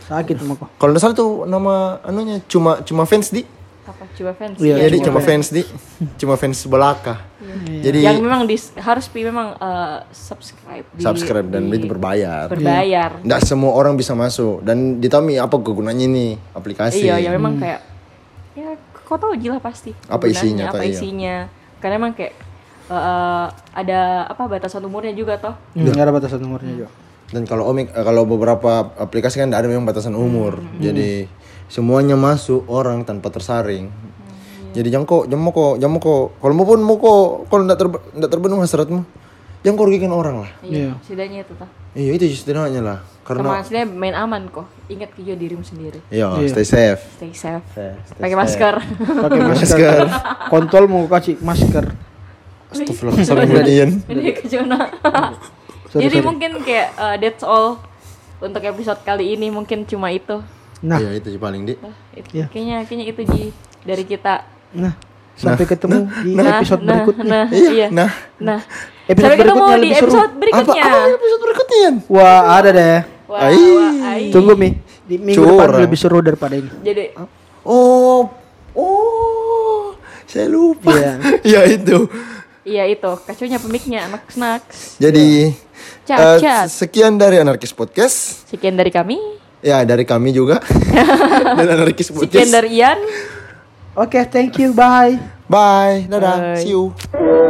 Speaker 3: Sakit sama kau.
Speaker 2: Kalau nggak salah tuh nama anunya cuma cuma fans di.
Speaker 1: apa coba fans
Speaker 3: Iya,
Speaker 1: Ya,
Speaker 2: Jadi
Speaker 1: coba
Speaker 2: cuma fans di, cuma fans belaka. Jadi
Speaker 1: yang memang di, harus pi memang eh, subscribe di,
Speaker 2: subscribe dan
Speaker 1: di-
Speaker 2: itu berbayar.
Speaker 1: berbayar
Speaker 2: Nggak semua orang bisa masuk dan ditami apa kegunaannya nih aplikasi?
Speaker 1: iya ya memang kayak ya kau tahu gila pasti
Speaker 2: Apa
Speaker 1: kegunaannya,
Speaker 2: isinya,
Speaker 1: apa
Speaker 2: toh, iya.
Speaker 1: isinya karena emang kayak eh, ada apa batasan umurnya juga toh
Speaker 2: Iya.
Speaker 3: Enggak ada batasan umurnya juga.
Speaker 2: Dan kalau omik eh, kalau beberapa aplikasi kan ada memang batasan umur.
Speaker 1: Hmm.
Speaker 2: Jadi semuanya masuk orang tanpa tersaring.
Speaker 1: Hmm.
Speaker 2: Jadi jangan kok, jangan mau kok, jangan mau kok. Kalau mau pun mau kok, kalau ndak terbe- ndak terbenung hasratmu, jangan kau rugikan orang lah.
Speaker 1: iya setidaknya itu toh
Speaker 2: Iya itu setidaknya lah.
Speaker 1: sama
Speaker 2: Karena
Speaker 1: aslinya main aman kok ingat juga dirimu sendiri
Speaker 2: iya stay safe.
Speaker 1: stay safe
Speaker 2: Stay- stay
Speaker 1: pakai
Speaker 2: safe.
Speaker 1: masker
Speaker 3: Pakai masker.
Speaker 2: Masker.
Speaker 3: Kontol mau kasih masker.
Speaker 2: Astagfirullah, Astagfirullahaladzim.
Speaker 1: ini ke zona.
Speaker 3: Sorry,
Speaker 1: jadi
Speaker 3: sorry.
Speaker 1: mungkin kayak uh, that's all untuk episode kali ini mungkin cuma itu
Speaker 3: Nah,
Speaker 2: Iya itu sih paling di.
Speaker 1: It-
Speaker 3: Iya.
Speaker 1: kayaknya kayaknya itu Ji dari kita
Speaker 3: nah sampai ketemu di
Speaker 1: nah,
Speaker 3: episode
Speaker 1: nah,
Speaker 3: berikutnya.
Speaker 1: nah, iya
Speaker 2: Iya. Nah,
Speaker 1: nah
Speaker 3: Episode
Speaker 1: sampai ketemu di
Speaker 3: berikutnya lebih seru.
Speaker 1: episode
Speaker 2: apa,
Speaker 1: berikutnya
Speaker 2: apa episode berikutnya? Yan?
Speaker 3: Wah, ada deh.
Speaker 1: Wah,
Speaker 2: Ai.
Speaker 1: wah, ai.
Speaker 3: Tunggu Mi, di minggu depan
Speaker 2: Curang.
Speaker 3: lebih seru daripada ini.
Speaker 1: jadi
Speaker 2: Oh, oh, saya lupa. ya
Speaker 3: Iya.
Speaker 2: itu.
Speaker 1: iya itu kacunya pemiknya anak snacks
Speaker 2: Jadi
Speaker 1: Cacat.
Speaker 2: eh, sekian dari Anarkis Podcast.
Speaker 1: sekian dari kami
Speaker 2: Ya dari kami juga. dari Anarkis Podcast.
Speaker 1: sekian dari Ian
Speaker 3: Oke, thank you. Bye.
Speaker 2: Bye. Dadah.
Speaker 1: Bye.
Speaker 2: See you.